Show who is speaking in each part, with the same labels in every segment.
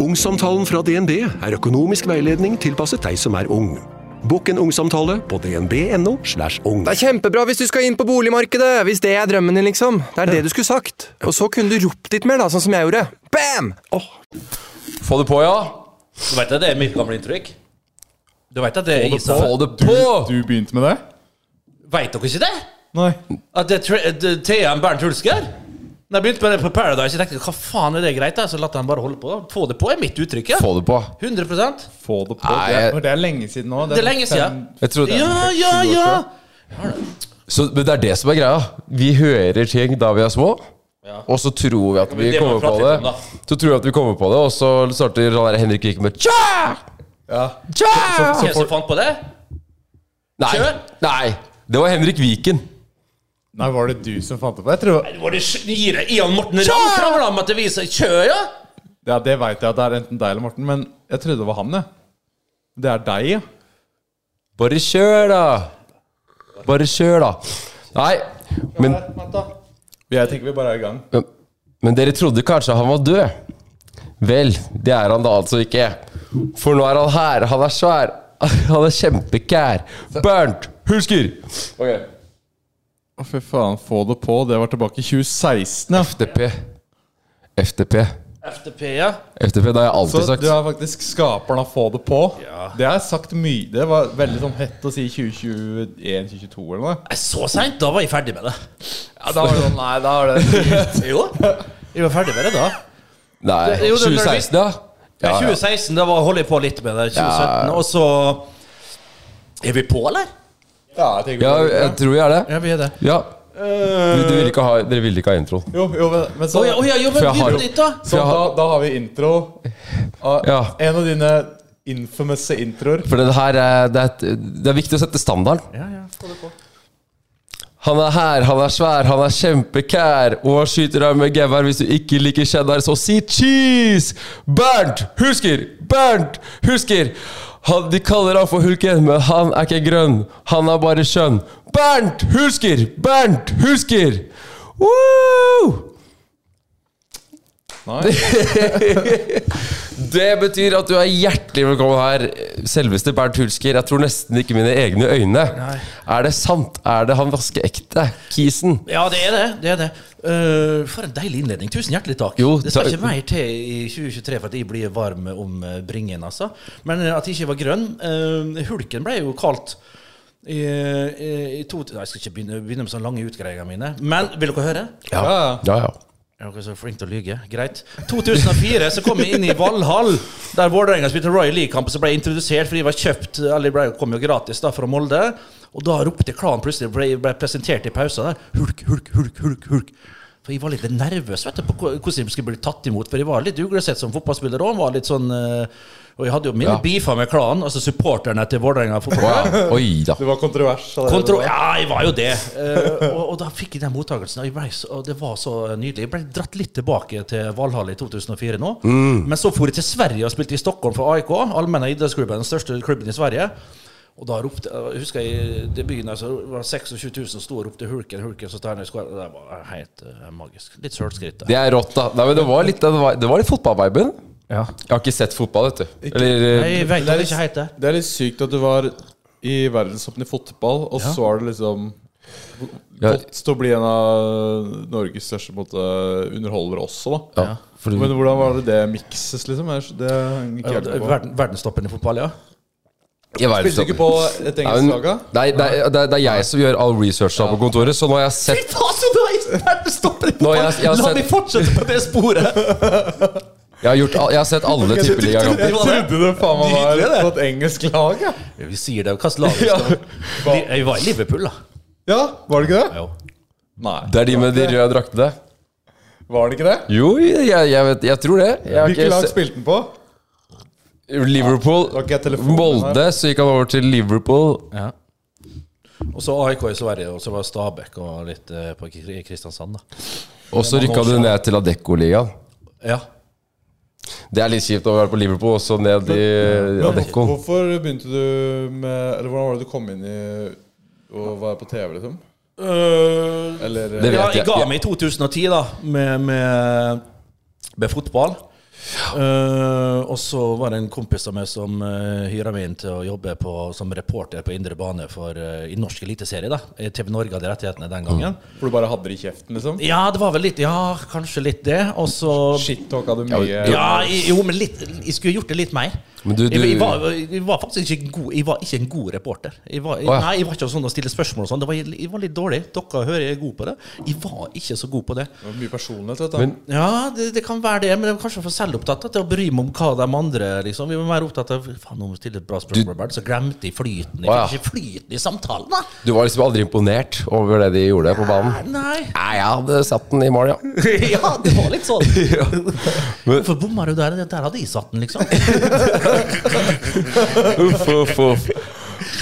Speaker 1: Ungsamtalen fra DNB er økonomisk veiledning tilpasset deg som er ung. Bokk en ungsamtale på dnb.no. slash ung.
Speaker 2: Det er kjempebra hvis du skal inn på boligmarkedet! Hvis det er drømmen din, liksom. Det er det du skulle sagt. Og så kunne du ropt litt mer, da, sånn som jeg gjorde. Bam!
Speaker 3: Få det på, ja.
Speaker 4: Du veit at det er mitt gamle inntrykk? Du veit at det er Isa?
Speaker 3: Få det på!
Speaker 5: Du begynte med det?
Speaker 4: Veit dere ikke det?
Speaker 5: Nei.
Speaker 4: At det er tre- det- Thea og Bernt Hulsker? Da jeg begynte med det på Paradise, jeg tenkte hva faen er det greit? da? Så la han bare holde på. Få det på er mitt uttrykk, ja.
Speaker 3: Få det på.
Speaker 4: 100
Speaker 5: Få det på.
Speaker 3: Nei,
Speaker 5: det,
Speaker 3: jeg-
Speaker 5: er, det er lenge siden nå.
Speaker 4: Det er lenge siden.
Speaker 5: fem-
Speaker 3: Jeg trodde
Speaker 4: Ja, ja, ja!
Speaker 3: Så men det er det som er greia. Vi hører ting da vi er små. Og så tror vi at vi
Speaker 4: men det må
Speaker 3: kommer
Speaker 4: vi prate
Speaker 3: på
Speaker 4: litt
Speaker 3: det.
Speaker 4: om, da.
Speaker 3: Så tror vi at vi kommer på det, og så starter han der Henrik Vike med tja! Tja!
Speaker 4: Hvem som fant på det?
Speaker 3: Nei,
Speaker 4: Kjør!
Speaker 3: nei. Det var Henrik Viken.
Speaker 5: Nei, var det du som fant det på? Jeg tror,
Speaker 4: Var det sj- gir deg Ian Morten Ramm krangla om at det viser kjø, ja?
Speaker 5: ja, det veit jeg at det er enten deg eller Morten, men jeg trodde det var han, jeg. Det er deg, ja.
Speaker 3: Bare kjør, da. Bare kjør, da. Nei, men,
Speaker 5: Jeg tenker vi bare er i gang.
Speaker 3: men dere trodde kanskje han var død? Vel, det er han da altså ikke. For nå er han her. Han er svær. Han er kjempekær. Bernt Hulsker.
Speaker 5: Å, fy faen. Få det på. Det var tilbake i 2016, ja.
Speaker 3: FTP. FTP.
Speaker 4: FTP, ja.
Speaker 3: FTP, det har jeg
Speaker 5: Så
Speaker 3: alltid sagt.
Speaker 5: du er faktisk skaperen av Få det på. Det har jeg sagt mye. Det var veldig sånn hett å si 2021-2022 eller noe.
Speaker 4: Nei, Så seint? Da var jeg ferdig med det.
Speaker 5: Ja, da var det sånn, nei, da var det
Speaker 4: Jo. Jeg var ferdig med det da.
Speaker 3: Nei,
Speaker 4: Jo, det er
Speaker 3: 2016, da?
Speaker 4: Ja, 2016, da var- holdt jeg på litt med det. 2017, og så Er vi på, eller?
Speaker 5: Ja, jeg tenker
Speaker 3: Ja,
Speaker 5: vi bare-
Speaker 3: jeg tror jeg er det.
Speaker 4: Ja, Eh, vi er det.
Speaker 3: Ja. Dere ville ikke ha, dere ville ikke ha introen.
Speaker 5: Jo, jo, men, men så,
Speaker 4: Å ja, å ja, jo, men
Speaker 3: For jeg har-
Speaker 4: begynn litt, da.
Speaker 5: så
Speaker 3: jeg
Speaker 5: da,
Speaker 3: har-
Speaker 5: da har vi intro. av
Speaker 3: Ja.
Speaker 5: En av dine infamøse introer.
Speaker 3: For det her er, det, er, et- det er viktig å sette standarden. Han er her, han er svær, han er kjempekær. Og han skyter deg med gevær hvis du ikke liker cheddar, så si cheese! Bernt Husker! Bernt Husker! Han, de kaller han for Hulken, men han er ikke grønn. Han er bare skjønn. Bernt Husker! Bernt Husker! Woo!
Speaker 5: Nei.
Speaker 3: Det betyr at du er hjertelig velkommen her, selveste Bernt Hulsker. Jeg tror nesten ikke mine egne øyne. Er det sant? Er det han vaskeekte? Kisen?
Speaker 4: Ja, det er det. det, er det. Eh, for en deilig innledning. Tusen hjertelig takk.
Speaker 3: Jo,
Speaker 4: det skal
Speaker 3: takk.
Speaker 4: ikke mer til i 2023 for at jeg blir varm om eh, bringen, altså. Men eh, at jeg ikke var grønn eh, Hulken ble jo kalt i, i, i to Nei, jeg skal ikke begynne, begynne med sånne lange utgreier mine. Men vil dere høre?
Speaker 3: Ja.
Speaker 5: Ja,
Speaker 3: ja, ja.
Speaker 4: Er dere så flinke til å lyge? Greit. 2004 så kom jeg inn i Valhall, der Vålerenga spilte Royal League-kamp. og Så ble jeg introdusert fordi jeg var kjøpt Eller jeg ble, kom jo gratis da fra Molde. Og da ropte klanen plutselig, ble, ble presentert i pausen der. Hulk, hulk, hulk, hulk. hulk For jeg var litt nervøs vet du, på hva- hvordan jeg skulle bli tatt imot. For jeg var litt uglesett som fotballspiller òg. Sånn, eh, og jeg hadde jo mine
Speaker 3: Ja.
Speaker 4: beefer med klanen, altså supporterne til Vålerenga fotballklubb.
Speaker 3: Wow. Oi da.
Speaker 5: det var kontrovers. allerede
Speaker 4: Kontro
Speaker 5: da.
Speaker 4: ja, jeg var jo det. Eh, og, og da fikk jeg den mottakelsen. Og, jeg ble så, og det var så nydelig. Jeg ble dratt litt tilbake til Valhall i 2004 nå.
Speaker 3: Mm.
Speaker 4: Men så for jeg til Sverige og spilte i Stockholm for AIK, allmenna idrettsklubben, den største klubben i Sverige. Og da ropte jeg husker jeg det byen altså, det var 26 000 som sto og ropte 'Hulken, Hulken', så tar han i skoa. Det var helt eh, magisk. Litt sølskritt.
Speaker 3: Det er rått, da. Nei, men det var litt, det var, det var litt fotballviben.
Speaker 4: Ja.
Speaker 3: Jeg har ikke sett fotball, vet du. Eller eh,
Speaker 4: Jeg vet
Speaker 5: Det er
Speaker 4: det
Speaker 5: litt-
Speaker 4: ikke heter.
Speaker 5: Det er litt sykt at du var i verdenstoppen i fotball, og så er det liksom
Speaker 3: Ja.
Speaker 5: Godt til å bli en av Norges største på en måte, underholdere også, da.
Speaker 3: ja, fordi,
Speaker 5: Men hvordan var det det mikses, liksom? Jeg- Det henger ikke helt på.
Speaker 4: Verden, verdenstoppen i fotball, ja.
Speaker 3: jeg var
Speaker 5: Spilte du ikke på et engelsk lag, da?
Speaker 3: Nei, det er, det, er, det er jeg som gjør all researcha på kontoret, så nå har jeg sett
Speaker 4: Faen, så nice! Verdenstoppen i
Speaker 3: Nå, jeg- jeg har
Speaker 4: fotball! La
Speaker 3: sett-
Speaker 4: meg fortsette på det sporet!
Speaker 3: Jeg har, gjort, all- jeg har sett alle tippeligakamper.
Speaker 5: Jeg trodde det faen meg var
Speaker 4: Nydelig, det.
Speaker 5: på et engelsk lag, jeg.
Speaker 4: Vi sier det. Hvilket lag er det? De- Jeg var i Liverpool, da.
Speaker 5: Ja, var det ikke det?
Speaker 4: Jo.
Speaker 5: Nei.
Speaker 3: Det er de med de røde draktene.
Speaker 5: Var det ikke det?
Speaker 3: Jo, jeg, jeg, vet, jeg tror det. Jeg har ikke
Speaker 5: Hvilket lag
Speaker 3: sett-
Speaker 5: spilte den på?
Speaker 3: Liverpool
Speaker 5: har ikke jeg telefonen
Speaker 3: Molde, så gikk han over til Liverpool.
Speaker 4: Og så AIK i Sverige, og så var Stabæk og litt eh, på Kri- i Kristiansand, da.
Speaker 3: Og så rykka du ned til Adecco-ligaen.
Speaker 4: Ja.
Speaker 3: Det er litt kjipt å være på Liverpool og så ned i Adecco.
Speaker 5: Hvorfor begynte du med Eller hvordan var det du kom inn i å være på TV, liksom? Eller
Speaker 3: Det vet
Speaker 5: Eh,
Speaker 4: ja, jeg
Speaker 3: jeg.
Speaker 4: ga
Speaker 3: Ja.
Speaker 4: meg i 2010, da, med, med, med fotball. Eh, og så var det en kompis av meg som uh, hyra meg inn til å jobbe på, som reporter på indre bane for, eh, i norsk eliteserie. da Eh, TV Norge hadde rettighetene den gangen.
Speaker 5: For eh, du bare hadde det i kjeften, liksom?
Speaker 4: Ja, det var vel litt Ja, kanskje litt det. Og så
Speaker 5: Shit-talka du mye?
Speaker 4: Ja, i- jo, men litt Jeg skulle gjort det litt mer.
Speaker 3: Men du- du-
Speaker 4: Jeg, jeg, var, jeg var faktisk ikke en god Jeg var ikke en god reporter. Jeg var, jeg,
Speaker 3: Å, ja.
Speaker 4: Nei, jeg var ikke sånn å stille spørsmål og sånn. Det var- Jeg var litt dårlig. Dere hører jeg er god på det. Jeg var ikke så god på det.
Speaker 5: Det var mye personlighet, vet du.
Speaker 3: Men-
Speaker 4: Ja, det, det kan være det, men jeg var kanskje for selvopptatt da, til å bry meg om hva de andre liksom. Vi må være opptatt av Faen, nå må jeg stille et bra spørsmål, Bernt. Så glemte jeg flyten. Jeg
Speaker 3: Å, ja.
Speaker 4: fikk ikke flyten i samtalen, da.
Speaker 3: Du var liksom aldri imponert over det de gjorde på banen?
Speaker 4: Nei.
Speaker 3: Nei, jeg hadde satt den i mål, ja.
Speaker 4: ja, det var litt sånn.
Speaker 3: Men-
Speaker 4: Hvorfor bomma du der? Der hadde jeg satt den, liksom.
Speaker 3: Uff, uff, uff.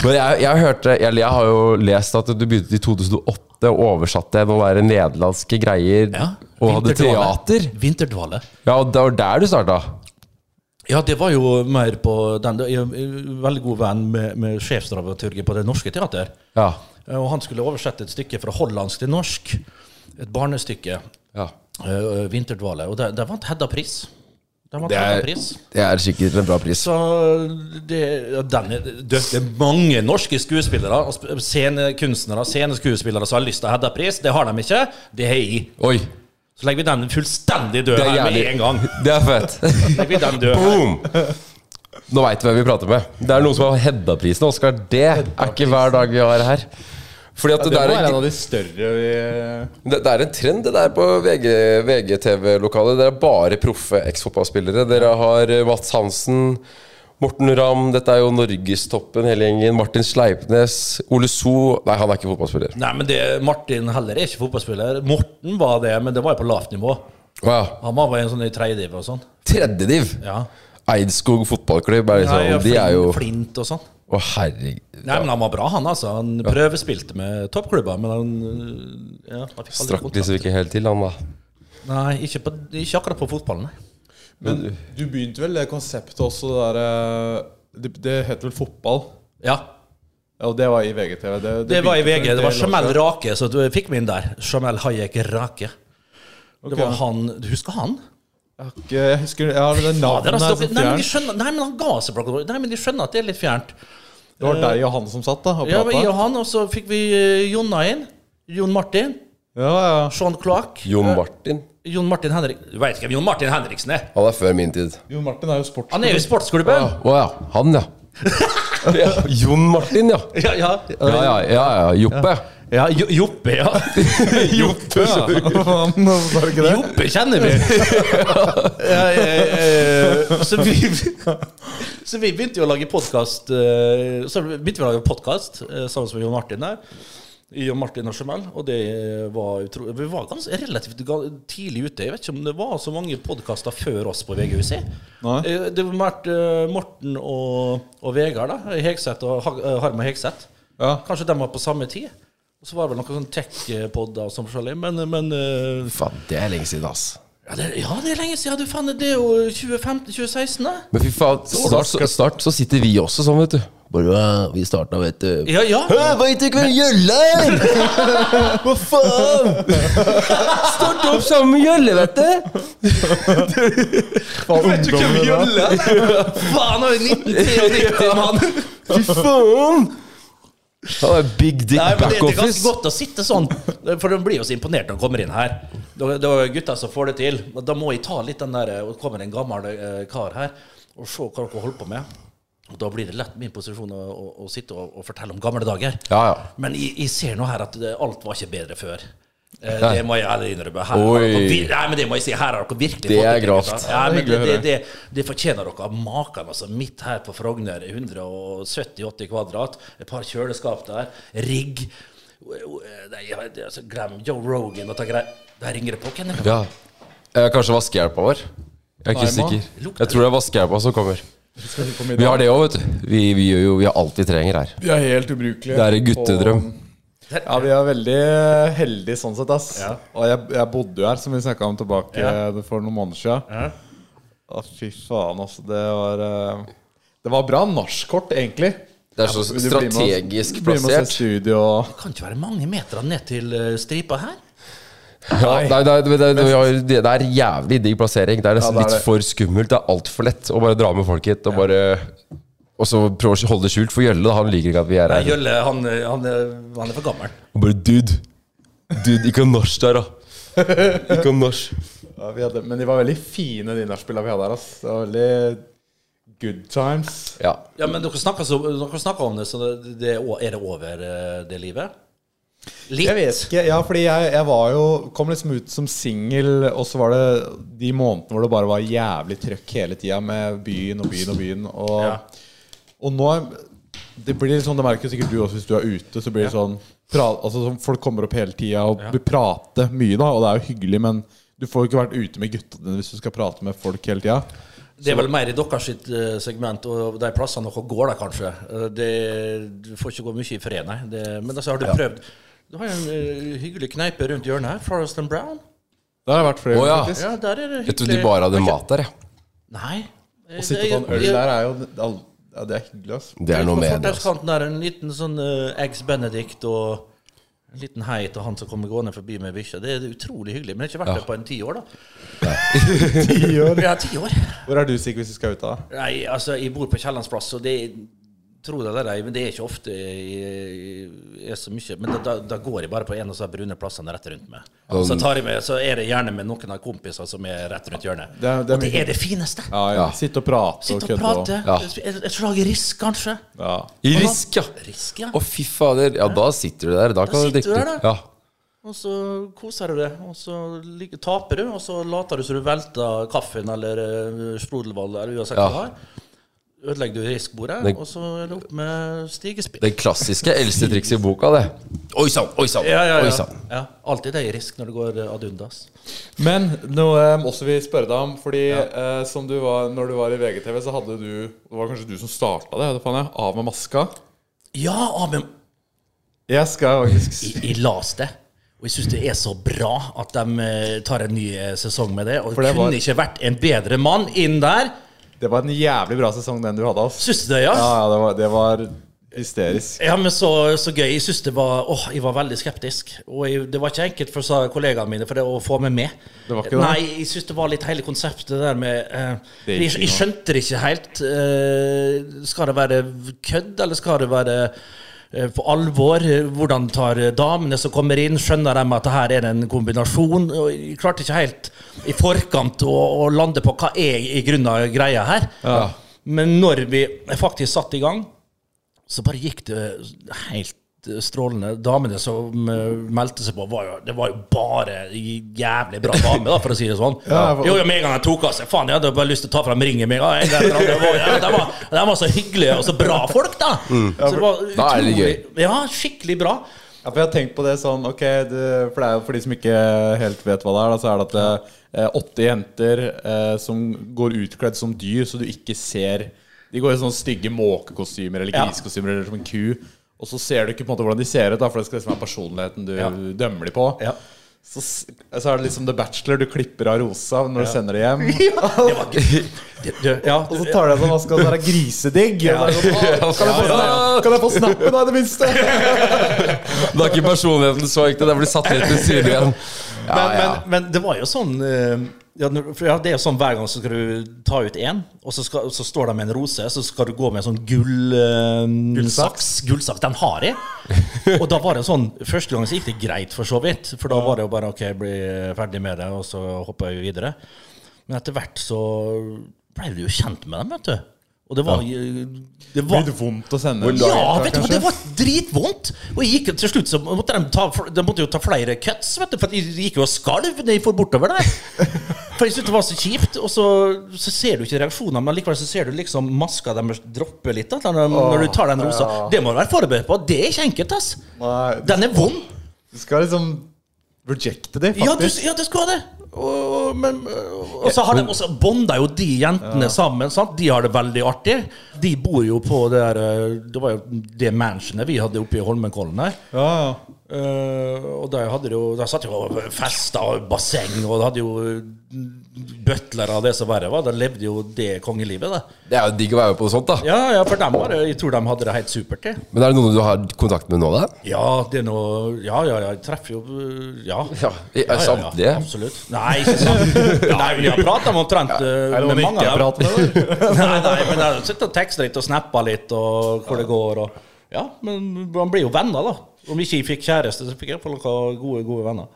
Speaker 3: Men jeg, jeg hørte Eller jeg har jo lest at du begynte i 2008 og oversatte noen der nederlandske greier
Speaker 4: Ja.
Speaker 3: og hadde
Speaker 4: Vinterdvale.
Speaker 3: teater.
Speaker 4: Vinterdvale.
Speaker 3: Ja, og det var der du starta?
Speaker 4: Ja, det var jo mer på den Jeg er veldig god venn med, med sjefsdramaturgen på Det Norske Teater. eh,
Speaker 3: Ja.
Speaker 4: Og han skulle oversette et stykke fra hollandsk til norsk. Et barnestykke.
Speaker 3: ja.
Speaker 4: eh, 'Vinterdvale'. Og der, der vant Hedda pris. Der vant
Speaker 3: Det
Speaker 4: Hedda
Speaker 3: er,
Speaker 4: pris.
Speaker 3: det er sikkert en bra pris.
Speaker 4: Så det, ja, den er, det det er mange norske skuespillere, og sp- scenekunstnere, sceneskuespillere som har lyst til å ha Hedda-pris. Det har de ikke. Det har jeg.
Speaker 3: Oi!
Speaker 4: Så legger vi den fullstendig død
Speaker 3: Det er
Speaker 4: her med
Speaker 3: jævlig.
Speaker 4: en gang.
Speaker 3: Det er fett.
Speaker 4: Legger vi den død her.
Speaker 3: Boom! Nå veit du hvem vi prater med. Det er noen som har Hedda-prisen. Oskar, det er ikke hver dag vi har her. Fordi at
Speaker 5: Det,
Speaker 3: det,
Speaker 5: var
Speaker 3: er
Speaker 5: en
Speaker 3: en,
Speaker 5: av de større vi
Speaker 3: det, det er en trend det der på VG, VGTV-lokalet. Dere er bare proffe eksfotballspillere. Dere har eh, Mats Hansen, Morten Ramm, dette er jo norgestoppen, hele gjengen. Martin Sleipnes, Ole So Nei, han er ikke fotballspiller.
Speaker 4: Nei, men det, Martin heller er ikke fotballspiller. Morten var det, men det var jo på lavt nivå.
Speaker 3: Å ja.
Speaker 4: Han var bare en sånn i tredjediv og sånn.
Speaker 3: Tredjediv!
Speaker 4: Ja.
Speaker 3: Eidskog fotballklubb er liksom
Speaker 4: Nei, og
Speaker 3: De er jo Å,
Speaker 4: Flint og sånn.
Speaker 3: herregud.
Speaker 4: Nei, men han var bra, han altså. Han prøvespilte med toppklubber, men han øh, ja, han fikk aldri
Speaker 3: Strakk
Speaker 4: kontrakt.
Speaker 3: liksom ikke helt til, han da.
Speaker 4: Nei, ikke, på, ikke akkurat på fotballen, nei.
Speaker 5: Men du begynte vel det konseptet også, det derre det, det het vel fotball?
Speaker 4: Ja.
Speaker 5: Ja, Og det var i VGTV. Det, det
Speaker 4: Det var i
Speaker 5: begynte for
Speaker 4: VG.
Speaker 5: en
Speaker 4: Det var
Speaker 5: del år
Speaker 4: Jamel
Speaker 5: siden.
Speaker 4: Rake, så du fikk meg inn der. Jamel Hayek Rake. Det
Speaker 5: Ok.
Speaker 4: var han Du husker han?
Speaker 5: Jeg har ikke- Jeg husker Jeg har det
Speaker 4: Ja, det er
Speaker 5: navnet her
Speaker 4: altså-
Speaker 5: som
Speaker 4: nei, men de
Speaker 5: fjernt.
Speaker 4: skjønner, nei, men han ga seg. blant annet. Nei, men de skjønner at det er litt fjernt.
Speaker 5: Det var deg og han som satt da og
Speaker 4: Ja,
Speaker 5: prata?
Speaker 4: men jeg
Speaker 5: Ja,
Speaker 4: og han, og så fikk vi eh, Jonna inn. Jon Martin.
Speaker 5: ja.
Speaker 4: Sean Clark.
Speaker 3: Jon Martin.
Speaker 4: Jon Martin Henrik Du vet ikke hvem Jon Martin Henriksen er?
Speaker 3: Han er før min tid.
Speaker 5: Jon Martin er jo sports...
Speaker 4: Han er jo i sportsklubben.
Speaker 3: Å ja. Han, ja. ja. Jon Martin, ja.
Speaker 4: Ja, ja.
Speaker 3: Ja, ja, ja, ja. Joppe.
Speaker 4: ja Jo- Joppe, ja.
Speaker 3: Joppe,
Speaker 5: Var det ikke det?
Speaker 4: Joppe kjenner vi. ja, eh, eh, så, vi så vi begynte jo å lage podkast Så begynte vi å lage podkast sammen med Jon Martin der. Jon Martin og Jamel. Og det var utro... Vi var ganske relativt ga- tidlig ute. Jeg vet ikke om det var så mange podkaster før oss på VGUC.
Speaker 5: Nei.
Speaker 4: Eh, Det var Mart- eh, Morten og, og Vegard, da. Hegseth og Hag- eh, Harm og Hegseth.
Speaker 5: Ja.
Speaker 4: Kanskje de var på samme tid. Og så var det vel noen sånn tech-podder og sånn forskjellig. Men, men eh,
Speaker 3: Faen, det er lenge siden, ass.
Speaker 4: ja det, ja, det er lenge siden. Du fant det er jo 2015-2016, da.
Speaker 3: Men fy faen, snart, så- snart så sitter vi også sånn, vet du. Bare, «Åh, vi starta, vet du.
Speaker 4: Ja, ja.
Speaker 3: Hæ, veit du ikke hvem Gjølle er?! Hva faen?! Starta opp sammen med Gjølle, vet du!
Speaker 5: Faen, ungdommen i dag.
Speaker 4: Faen, nå er det 1993, mann!
Speaker 3: Fy faen! Han er big dick
Speaker 4: Nei, men det, det er ganske
Speaker 3: backoffice.
Speaker 4: godt å sitte sånn, for de blir jo så imponert når de kommer inn her. Da, da er gutta som får det til. Og Da må jeg ta litt den der Og kommer en gammel eh, kar her og se hva dere holder på med. Og Da blir det lett min posisjon å, å, å sitte og, og fortelle om gamle dager.
Speaker 3: Ja, ja.
Speaker 4: Men jeg, jeg ser nå her at det, alt var ikke bedre før. Eh,
Speaker 3: Nei.
Speaker 4: det må jeg ærlig innrømme. Her, har
Speaker 3: Oi.
Speaker 4: dere vir- nei, men det må jeg si, her har dere virkelig
Speaker 3: Det
Speaker 4: fått
Speaker 3: er
Speaker 4: til, gutta.
Speaker 3: grovt.
Speaker 4: Ja, men
Speaker 5: Det er
Speaker 4: det,
Speaker 5: hyggelig å
Speaker 4: det,
Speaker 5: høre.
Speaker 4: det, det fortjener dere. Maken, altså. Midt her på Frogner, 170-80 kvadrat. Et par kjøleskap der. Rigg. Nei, jeg- altså, glem Joe Rogan og ta greier. Der ringer det på. Hvem er det?
Speaker 3: Ja. Eh, Kanskje vaskehjelpa vår? Jeg er ikke
Speaker 5: Nei, man.
Speaker 3: sikker. Jeg tror det er vaskehjelpa som kommer.
Speaker 5: Skal vi komme i
Speaker 3: Vi har
Speaker 5: dag?
Speaker 3: det òg, vet du. Vi, vi gjør jo vi har alt vi trenger her.
Speaker 5: Vi er helt ubrukelige.
Speaker 3: Det er en guttedrøm.
Speaker 5: Ja, vi er veldig heldige sånn sett, ass.
Speaker 4: Ja.
Speaker 5: Og jeg, jeg bodde jo her, som vi snakka om tilbake
Speaker 4: Ja.
Speaker 5: eh, for noen måneder siden.
Speaker 4: Ja.
Speaker 5: Å, fy faen, altså. Det var eh, Det var bra nachskort, egentlig.
Speaker 3: Det er så
Speaker 5: Du blir med oss-
Speaker 3: Altså, strategisk
Speaker 5: Bli med og se
Speaker 3: plassert.
Speaker 5: studio og
Speaker 4: Kan ikke være mange meter ned til eh, stripa her.
Speaker 3: Ja, nei, nei, det, det, det, det er jævlig digg plassering. Det er nesten
Speaker 5: Ja, det er
Speaker 3: litt
Speaker 5: det.
Speaker 3: for skummelt. Det er altfor lett å bare dra med folk hit og bare Og så prøve å holde det skjult, for Gjølle da, han liker ikke at vi er
Speaker 4: Nei,
Speaker 3: her.
Speaker 4: Jølle, han, han, han er for gammel.
Speaker 3: Og bare dude, dude, ikke ha nach der, da. Ikke ha nach.
Speaker 5: Ja, vi hadde, men de var veldig fine, de nachspiela vi hadde her. Ass. Det var veldig good times.
Speaker 3: Ja.
Speaker 4: Ja, men dere snakker, så, dere snakker om det, så det, det, er o- er det over eh, det livet? Litt.
Speaker 5: Jeg vet ikke, ja, fordi jeg, jeg var jo kom liksom ut som singel, og så var det de månedene hvor det bare var jævlig trøkk hele tida med byen og byen og byen. Og,
Speaker 4: Ja.
Speaker 5: og nå det blir litt sånn, det merker sikkert du også hvis du er ute. Så blir det sånn, pra, altså sånn Folk kommer opp hele tida og du prater mye, da, og det er jo hyggelig, men du får jo ikke vært ute med gutta dine hvis du skal prate med folk hele tida.
Speaker 4: Det er vel mer i deres sitt eh, segment og de plassene dere går der, kanskje. Eh, Det, du får ikke gå mye i fred, nei. Det, men altså, har du prøvd Du har jo en eh, hyggelig kneipe rundt hjørnet her, Forest and Brown.
Speaker 5: Der har jeg vært
Speaker 3: Å,
Speaker 5: flere
Speaker 3: ja.
Speaker 5: ganger, faktisk.
Speaker 4: Ja, der er det
Speaker 3: Jeg trodde de bare hadde mat der, jeg.
Speaker 4: Nei.
Speaker 5: Å sitte på en øl der er jo ja, Det er hyggelig, ass.
Speaker 3: Det er noe med det. altså.
Speaker 4: Fortauskanten er en liten sånn eh, Eggs Benedict og en liten hei til han som kommer gående forbi med bikkja. Det er utrolig hyggelig. Men jeg har ikke vært der på en ti år, da. Ja, ti år.
Speaker 5: Hvor er du, Sigurd, hvis du skal ut av?
Speaker 4: Nei, altså, jeg bor på Kiellands plass, og det Tro det eller ei, men det er ikke ofte jeg jeg er så mye Men da, da, da går jeg bare på en av de brune plassene rett rundt meg. Og
Speaker 5: Sånn.
Speaker 4: så tar jeg med, så er det gjerne med noen av kompisene som er rett rundt hjørnet.
Speaker 5: Det er- det er
Speaker 4: og det
Speaker 5: mye-
Speaker 4: er det fineste.
Speaker 5: Ja, ja. Sitte og prate
Speaker 4: Sitte
Speaker 5: og
Speaker 4: og
Speaker 5: kødde og-
Speaker 4: prate.
Speaker 3: Ja.
Speaker 4: Et, et slag i risk, kanskje.
Speaker 5: Ja.
Speaker 3: I risk, ja.
Speaker 4: Risk, ja.
Speaker 3: Å, fy fader. Ja, da sitter du der. Da kan du
Speaker 4: sitter
Speaker 3: drikke.
Speaker 4: du
Speaker 3: litt.
Speaker 4: der, da.
Speaker 3: Ja.
Speaker 4: Og så koser du deg, og så lig- taper du, og så later du som du velter kaffen eller eh, sprudelvoll eller uansett
Speaker 3: Ja.
Speaker 4: hva du har. Ødelegger du riskbordet,
Speaker 3: Det-
Speaker 4: og så er det opp med stigespill.
Speaker 3: Det klassiske eldste trikset i boka, det. Oi sann, oi sann.
Speaker 4: Ja, ja,
Speaker 3: oi
Speaker 4: ja.
Speaker 3: sann.
Speaker 4: ja. Alltid det er i risk når det går eh, ad undas.
Speaker 5: Men noe jeg også vil spørre deg om, fordi eh, som du var, når du var i VGTV, så hadde du Det var kanskje du som starta det? Hva faen jeg, av med maska?
Speaker 4: Ja, Amund,
Speaker 5: Jeg skal faktisk
Speaker 4: jeg, jeg las det. Og jeg syns det er så bra at de eh, tar en ny eh, sesong med det. Og
Speaker 5: For det var-
Speaker 4: kunne ikke vært en bedre mann inn der.
Speaker 5: Det var en jævlig bra sesong, den du hadde, ass.
Speaker 4: Syns du det, ja?
Speaker 5: Ja, ja, det var, det var hysterisk.
Speaker 4: Ja, men så, så gøy. Jeg synes det var Åh, jeg var veldig skeptisk. Og jeg, det var ikke enkelt for sa kollegaene mine for det å få meg med.
Speaker 5: Det var ikke det?
Speaker 4: Nei, jeg synes det var litt hele konseptet der med eh, jeg,
Speaker 5: Det gikk ikke
Speaker 4: jeg
Speaker 5: noe.
Speaker 4: skjønte det ikke helt. Eh, skal det være kødd, eller skal det være eh, på alvor, Eh, hvordan tar eh, damene som kommer inn, skjønner de at det her er en kombinasjon? Og jeg klarte ikke helt i forkant å, å lande på hva er i grunnen greia her. Men når vi faktisk satte i gang, så bare gikk det helt eh, strålende. Damene som eh, meldte seg på, var jo, det var jo bare jævlig bra dame, da, for å si det sånn.
Speaker 5: Ja, for-
Speaker 4: Jo, jo, med en gang de tok av seg Faen, jeg hadde bare lyst til å ta fram ringen med en gang. En gang eller andre. Det var- ja, De var, de var så hyggelige og så bra folk, da. Så det var
Speaker 3: Da er det
Speaker 4: utrolig Ja, skikkelig bra.
Speaker 5: Ja, for jeg har tenkt på det sånn Ok, det, for det er jo for de som ikke helt vet hva det er, da, så er det at det, eh, åtte jenter eh, som går utkledd som dyr, så du ikke ser De går i sånne stygge måkekostymer eller
Speaker 4: Ja.
Speaker 5: grisekostymer eller som en ku. Og så ser du ikke på en måte hvordan de ser ut, da, for det skal liksom være personligheten du dømmer de på.
Speaker 4: Ja.
Speaker 5: Så, s- så er det liksom The Bachelor. Du klipper av rosa når du sender det hjem.
Speaker 4: Det, det, ja,
Speaker 5: Og så tar de av seg maska, og så er det grisedigg. Og så er det sånn, «Å, kan, jeg få,
Speaker 3: Ja, ja.
Speaker 5: kan jeg få snappen, da, i det minste?
Speaker 3: Det er ikke personligheten så ekte. Det blir satt litt til side igjen. Ja,
Speaker 4: men,
Speaker 3: ja.
Speaker 4: men, men det var jo sånn eh, ja, når- for ja, Det er jo sånn hver gang så skal du ta ut én, og så, skal, så står de med en rose, så skal du gå med en sånn gull eh, Gullsaks. Gullsaks. Den har jeg. Og da var det sånn Første gang så gikk det greit, for så vidt. For da var det jo bare OK, bli ferdig med det, og så hopper jeg videre. Men etter hvert så ble du jo kjent med dem, vet du. Og det var, det var
Speaker 5: Blir det vondt å sende?
Speaker 4: ja, vet du, hva, det var dritvondt! Og jeg gikk jo til slutt så måtte de, ta, de måtte jo ta flere cuts, vet du, for jeg gikk jo og skalv når jeg for bortover der. For jeg syntes det var så kjipt, og så, så ser du ikke reaksjoner, men likevel så ser du liksom maska deres droppe litt da, når, når du tar den rosa. Det må du være forberedt på. Det er ikke enkelt, ass.
Speaker 5: Nei.
Speaker 4: Den er vond.
Speaker 5: Du skal liksom rejecte det,
Speaker 4: Ja, du,
Speaker 5: faktisk.
Speaker 4: ja, det skulle ha det. Og, men, og så har de også bonda jo de jentene sammen. Sant? De har det veldig artig. De bor jo på det der eh, Det var jo det mansionet vi hadde oppe i Holmenkollen her.
Speaker 5: Ja, ja.
Speaker 4: Eh, og der hadde det jo Der satt jo og festa og basseng, og det hadde jo butlere og det som verre var. Da levde jo det kongelivet, det.
Speaker 3: Det er jo digg å være med på sånt, da.
Speaker 4: Ja, ja, for dem var det Jeg tror de hadde det helt supert, det.
Speaker 3: Men er det noen du har kontakt med nå, da?
Speaker 4: Ja, det er noe Ja, ja, ja, jeg treffer jo øh, Ja.
Speaker 3: Ja, i- samtlige?
Speaker 4: Absolutt. Nei, ikke samtlige. Nei, vi har prata om omtrent øh,
Speaker 5: det noen
Speaker 4: med
Speaker 5: ikke
Speaker 4: mange
Speaker 5: jeg
Speaker 4: av dem. Nei, nei, men jeg sitter og tekster litt og snapper litt, og hvor det går, og Ja, men man blir jo venner, da. Om ikke jeg fikk kjæreste, så fikk jeg i hvert fall noen gode, gode venner.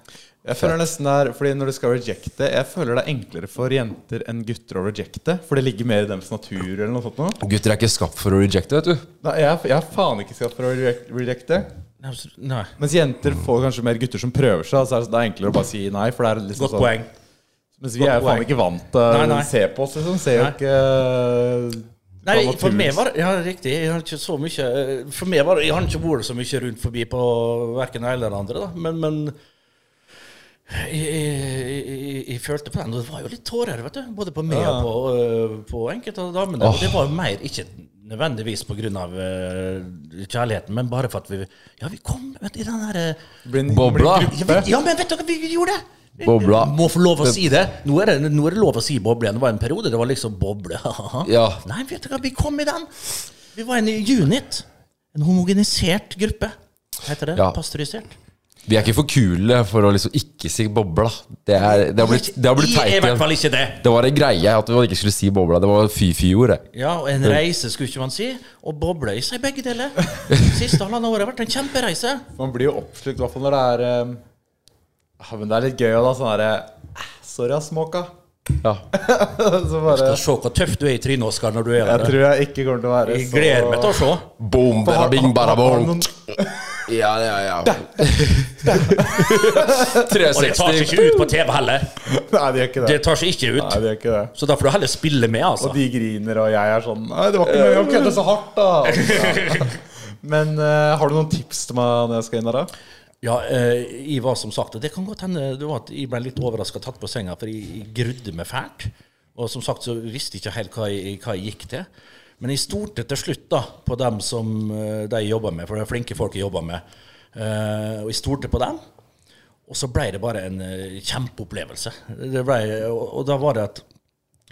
Speaker 5: Jeg føler nesten det er, fordi når du skal rejecte Jeg føler det er enklere for jenter enn gutter å rejecte. For det ligger mer i deres natur. eller noe sånt nå.
Speaker 3: Gutter er ikke skapt for å rejecte, vet du.
Speaker 5: Nei, jeg, jeg har faen ikke skapt for å reject- rejecte.
Speaker 4: Nei, Nei.
Speaker 5: Mens jenter får kanskje mer gutter som prøver seg. Altså er det- det er enklere å bare si nei. For det er liksom
Speaker 4: Godt
Speaker 5: sånn,
Speaker 4: poeng.
Speaker 5: Mens vi er jo
Speaker 4: Godt
Speaker 5: faen
Speaker 4: poeng.
Speaker 5: ikke vant til
Speaker 4: Nei, nei.
Speaker 5: å se på oss, liksom. Ser jo
Speaker 4: Nei.
Speaker 5: ikke
Speaker 4: Nei,
Speaker 5: hva
Speaker 4: for
Speaker 5: naturen-
Speaker 4: meg var Ja, riktig. Jeg har ikke så mye eh, For meg var Jeg har ikke vært så mye rundt forbi på verken det ene eller det andre, da. Men, men jeg, jeg, jeg, jeg følte på den. og Det var jo litt tårer, vet du. Både på meg og på, eh, på enkelte av damene. Og det var jo mer ikke nødvendigvis pga. øh, kjærligheten, men bare for at vi Ja, vi kom vet, du, i den derre
Speaker 5: blir en-
Speaker 3: Bobla.
Speaker 5: blir en
Speaker 4: ja,
Speaker 5: gruppe.
Speaker 4: vi- ja, men vet dere, vi gjorde det!
Speaker 3: Bobla.
Speaker 4: Må få lov å si det. Nå er det, nå er det lov å si boble igjen. Det var en periode det var liksom boble. haha.
Speaker 3: Ja.
Speaker 4: Nei, vet dere, vi kom i den. Vi var en unit. En homogenisert gruppe. Heter det?
Speaker 3: Ja.
Speaker 4: Pasteurisert.
Speaker 3: Vi er ikke for kule for å liksom ikke si bobla. Det, er, det har blitt, det har blitt
Speaker 4: Jeg er
Speaker 3: teit
Speaker 4: i hvert
Speaker 3: igjen.
Speaker 4: fall ikke det.
Speaker 3: Det var en greie at man ikke skulle si bobla. Det var fy-fy-ord, det.
Speaker 4: Ja, og en reise skulle ikke man si. Og boble i seg begge deler. Siste halvannet året har vært en kjempereise.
Speaker 5: Man blir jo oppslukt, i hvert fall når det er eh, ja, Men det er litt gøy òg, da. Sånn herre eh, Sorry, ass, måka.
Speaker 3: Ja.
Speaker 5: Så bare
Speaker 4: Se hvor tøff du er i trynet, Oskar, når du er
Speaker 5: Jeg
Speaker 4: der.
Speaker 5: tror jeg ikke kommer til å være
Speaker 4: Jeg gleder meg til å se.
Speaker 3: Boom, bada bing, bada boom. Ja, ja, ja. 360.
Speaker 4: Og det tar seg ikke ut på TV heller.
Speaker 5: Nei, de gjør ikke det.
Speaker 4: Det tar seg ikke
Speaker 5: Nei,
Speaker 4: ut.
Speaker 5: de gjør ikke det.
Speaker 4: Så da får du heller spille med, altså.
Speaker 5: Og de griner, og jeg er sånn Nei, det var ikke meningen å kødde så hardt, da. Men eh, har du noen tips til meg når jeg skal inn der, da?
Speaker 4: Ja, eh, jeg var som sagt og Det kan godt hende det var at jeg ble litt overraska tatt på senga, for jeg, jeg grudde meg fælt. Og som sagt så visste jeg ikke helt hva jeg, hva jeg gikk til. Men jeg stolte til slutt da på dem som eh, de jobba med, for det er flinke folk jeg jobba med. Eh, og jeg stolte på dem. Og så ble det bare en eh, kjempeopplevelse. Det ble, og, og da var det at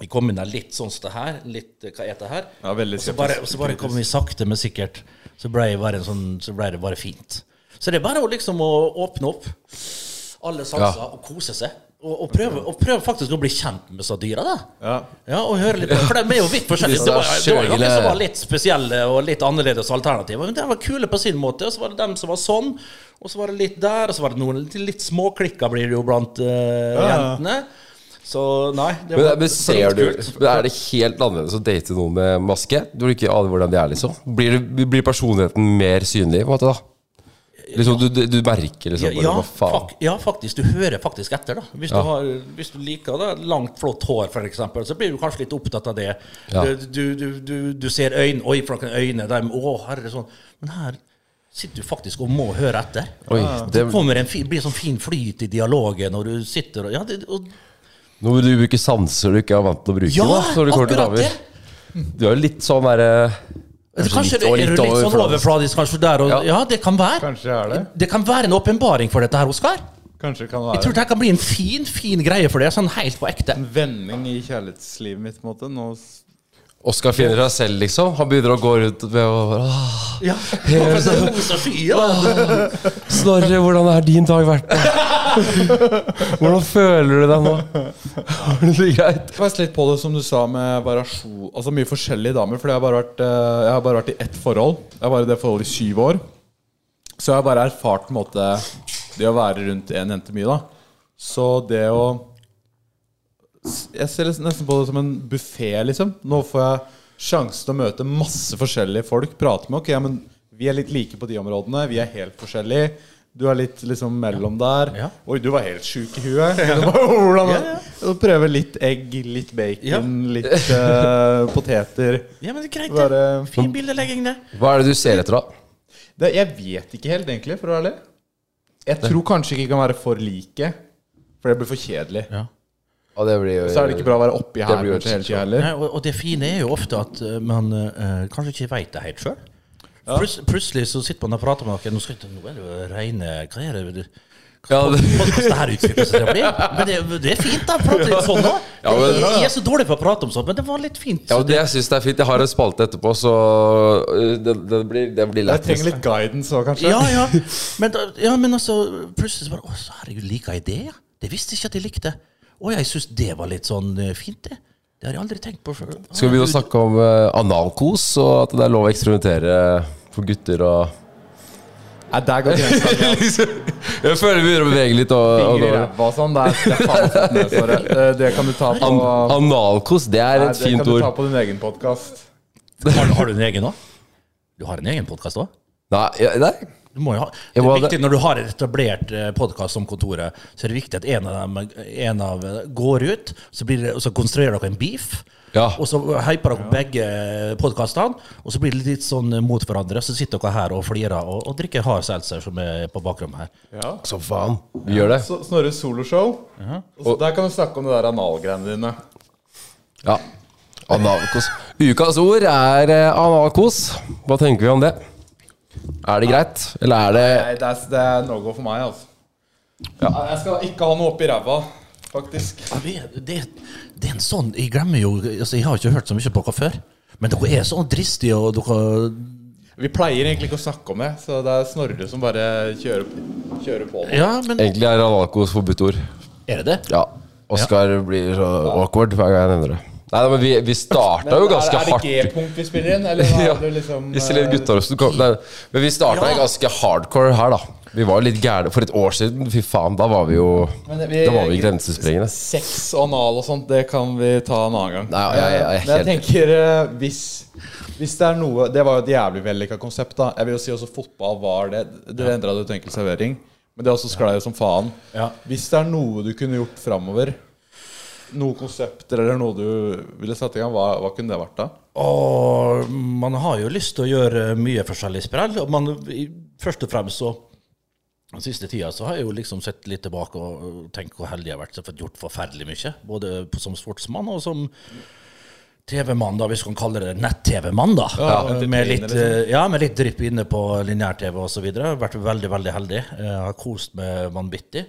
Speaker 4: jeg kom inn der litt sånn som det her. Litt eh, hva er det her?
Speaker 5: Ja, veldig
Speaker 4: og så bare,
Speaker 5: skeptisk.
Speaker 4: og så bare kom vi sakte, men sikkert. Så ble, jeg bare en sånn, så ble det bare fint. Så det er bare å liksom å åpne opp alle sanser og kose seg. Og, og, prøve, og prøve faktisk å bli kjent med disse dyra, da.
Speaker 5: Ja.
Speaker 4: Ja, og høre litt For de er jo vidt forskjellige.
Speaker 3: Disse
Speaker 4: Det var, det var jo noen
Speaker 3: skjøgle-
Speaker 4: som var litt spesielle og litt annerledes alternativer. Men de var kule på sin måte. Og så var det dem som var sånn, og så var det litt der, og så var det noen litt- litt småklikka blir det jo blant eh,
Speaker 5: ja.
Speaker 4: jentene. Så nei, det
Speaker 3: Men,
Speaker 4: var
Speaker 3: men ser du
Speaker 4: dritkult.
Speaker 3: men Er det helt annerledes å date noen med maske? Du vil ikke ane hvordan de er, liksom? Blir, det- blir personligheten mer synlig, på en måte, da? Liksom, du, du, du merker liksom
Speaker 4: Ja,
Speaker 3: bare,
Speaker 4: ja,
Speaker 3: Hva faen?
Speaker 4: fak- ja, faktisk. Du hører faktisk etter, da. Hvis, du, har, hvis du liker da, langt, flott hår, f.eks., så blir du kanskje litt opptatt av det.
Speaker 3: Ja.
Speaker 4: Du, du, du, du, du ser øynene Oi, for noen øyne! De, å, herre, sånn. Men her sitter du faktisk og må høre etter.
Speaker 3: Oi, det,
Speaker 4: Det kommer en fin, blir sånn fin flyt i dialogen når du sitter og Ja, det, og,
Speaker 3: nå vil du bruke sanser du ikke er vant til å bruke.
Speaker 4: ja
Speaker 3: da, når du kommer til
Speaker 4: akkurat det!
Speaker 3: damer. Du er jo litt sånn derre
Speaker 4: Kanskje
Speaker 3: litt-
Speaker 4: det
Speaker 3: og
Speaker 4: er du litt sånn
Speaker 3: overfladisk.
Speaker 4: overfladisk kanskje der og
Speaker 3: Ja.
Speaker 4: ja. det kan være.
Speaker 5: Kanskje jeg er det.
Speaker 4: Det kan være en åpenbaring for dette her, Oskar.
Speaker 5: Kanskje det kan
Speaker 4: Jeg tror
Speaker 5: være
Speaker 4: det her kan bli en fin, fin greie for deg, sånn helt på ekte.
Speaker 5: en vending i kjærlighetslivet mitt, på en måte. Nå s-
Speaker 3: Oskar finner seg selv, liksom. Han begynner å gå rundt med og «Åh,
Speaker 4: Ja. Professor Rosa Skye, da.
Speaker 3: Snorre, hvordan har din dag vært? Hvordan føler du deg nå? Har du det greit?
Speaker 5: Jeg fest litt på det som du sa med variasjon Altså mye forskjellige damer. For jeg har bare vært, eh, jeg har bare vært i ett forhold. Jeg har bare i det forholdet i syv år. Så jeg har bare erfart på en måte det å være rundt én jente mye, da. Så det å Jeg ser liksom nesten på det som en buffé, liksom. Nå får jeg sjansen til å møte masse forskjellige folk, prate med Ok, ja, men vi er litt like på de områdene. Vi er helt forskjellige. Du er litt liksom mellom der.
Speaker 4: Ja.
Speaker 5: Oi, du var helt sjuk i huet. Hvordan å Prøve litt egg, litt bacon,
Speaker 4: Ja.
Speaker 5: litt eh, poteter.
Speaker 4: Ja, men det er greit, det.
Speaker 5: Bare
Speaker 4: Fin bildelegging, det.
Speaker 3: Hva er det du ser etter, da?
Speaker 5: det, Jeg vet ikke helt, egentlig, for å være ærlig. Jeg tror kanskje ikke jeg kan være for like, for det blir for kjedelig.
Speaker 3: Ja, det blir jo
Speaker 5: Så er det ikke bra å være oppi her
Speaker 3: blir jo
Speaker 5: kanskje hele
Speaker 3: et
Speaker 5: tida heller.
Speaker 4: Nei, og, og det fine er jo ofte at eh, man eh, kanskje ikke veit det helt sjøl. Plus, plutselig så sitter man og prater med noen. Nå, skal ikke, nå er det jo reine Hva er det du
Speaker 3: Ja, det,
Speaker 4: Hva skal det her utvikle seg til å bli? Men det, det er fint, da. Prate litt sånn òg.
Speaker 3: Ja, men-
Speaker 4: jeg er så dårlig på å prate om sånt, men det var litt fint.
Speaker 3: ja, og det jeg syns er fint. Jeg har en spalte etterpå, så øh, den, den blir, den blir
Speaker 5: Jeg
Speaker 3: lett.
Speaker 5: trenger litt guidance òg, kanskje.
Speaker 4: Ja, ja. Men, da- ja, men altså, plutselig så bare Å, så herregud, liker jeg det? ja? Det visste jeg ikke at jeg likte. Og jeg syns det var litt sånn eh, fint, det. Det har jeg aldri tenkt på sjøl.
Speaker 3: Skal vi begynne å snakke om eh, analkos, og at det er lov å eksperimentere øh, for gutter og
Speaker 5: Nei, der går grensa.
Speaker 3: Jeg føler vi begynner å bevege litt. Og,
Speaker 5: Fingre i
Speaker 3: og,
Speaker 5: ræva og sånn. Det er, det er faen meg fått med, Snorre. Eh, Det kan du ta på
Speaker 3: An analkos, det er
Speaker 5: Nei,
Speaker 3: et
Speaker 5: det kan
Speaker 3: fint
Speaker 5: du
Speaker 3: ord.
Speaker 5: ta på din egen podkast.
Speaker 4: Har, har du en egen òg? Du har en egen podkast òg?
Speaker 3: Nei, ja, nei.
Speaker 4: Du må jo ha. Det
Speaker 3: Jeg
Speaker 4: er
Speaker 3: må ha
Speaker 4: viktig
Speaker 3: det.
Speaker 4: Når du har en etablert podkast som Kontoret, så er det viktig at en av dem en av, eh, går ut, så, blir det, og så konstruerer dere en beef.
Speaker 3: Ja.
Speaker 4: Og så hyper dere begge podkastene, og så blir det litt sånn mot hverandre. Så sitter dere her og flirer og, og drikker hard seltzer, som er på bakrommet her.
Speaker 1: Som faen.
Speaker 3: Vi gjør det.
Speaker 5: Så- Snorres soloshow. Og så Der kan du snakke om det der analgreiene dine.
Speaker 3: Ja. Analkos. Ukas ord er eh, analkos. Hva tenker vi om det? Er det greit, eller er det
Speaker 5: Nei, det er, det er no go for meg, altså. Nei, Jeg skal ikke ha noe oppi ræva, faktisk.
Speaker 4: Ja, vi- Det, det er en sånn Jeg glemmer jo altså, Jeg har ikke hørt så mye på dere før. Men dere er så dristige, og dere
Speaker 5: Vi pleier egentlig ikke å snakke om det, så det er Snorre som bare kjører, kjører på. nå.
Speaker 4: Ja, men
Speaker 3: Egentlig er analkos forbudt ord.
Speaker 4: er det det?
Speaker 3: Ja. Oskar blir så awkward hver gang jeg nevner det. Nei, men vi, vi starta jo ganske
Speaker 5: er,
Speaker 3: hardt.
Speaker 5: Er det G-punkt vi spiller inn, eller hva
Speaker 3: Ja,
Speaker 5: er det liksom
Speaker 3: vi stiller
Speaker 5: eh,
Speaker 3: litt gutterosten kom, nei, Men vi starta
Speaker 4: Ja.
Speaker 3: ganske hardcore her, da. Vi var jo litt gærne for et år siden. Fy faen, da var vi jo
Speaker 5: Men det- vi-
Speaker 3: Da var vi grensesprengende.
Speaker 5: Sex og anal og sånt, det kan vi ta en annen gang.
Speaker 3: Nei, jeg- jeg- jeg er
Speaker 5: Men jeg
Speaker 3: helt-
Speaker 5: tenker eh, hvis, hvis det er noe Det var jo et jævlig vellykka konsept, da. Jeg vil jo si også fotball var det. Dere endra det til enkel servering. Men det også sklei jo som faen.
Speaker 4: Ja.
Speaker 5: Hvis det er noe du kunne gjort framover, noen konsepter eller noe du ville satt i gang, hva, hva kunne det vært da?
Speaker 4: Og man har jo lyst til å gjøre mye forskjellig sprell. Og man, i, først og fremst så den siste tida så har jeg jo liksom sett litt tilbake og og tenkt hvor heldig jeg har vært som har fått gjort forferdelig mye. Både på- som sportsmann og som TV-mann, da, hvis man kan kalle det nett-TV-mann. da. Eh,
Speaker 5: Ja, liksom.
Speaker 4: med, litt,
Speaker 5: entertainer,
Speaker 4: eh, ja, med litt drypp inne på lineær-TV osv. Vært veldig, veldig heldig. Eh, Jeg har kost meg vanvittig.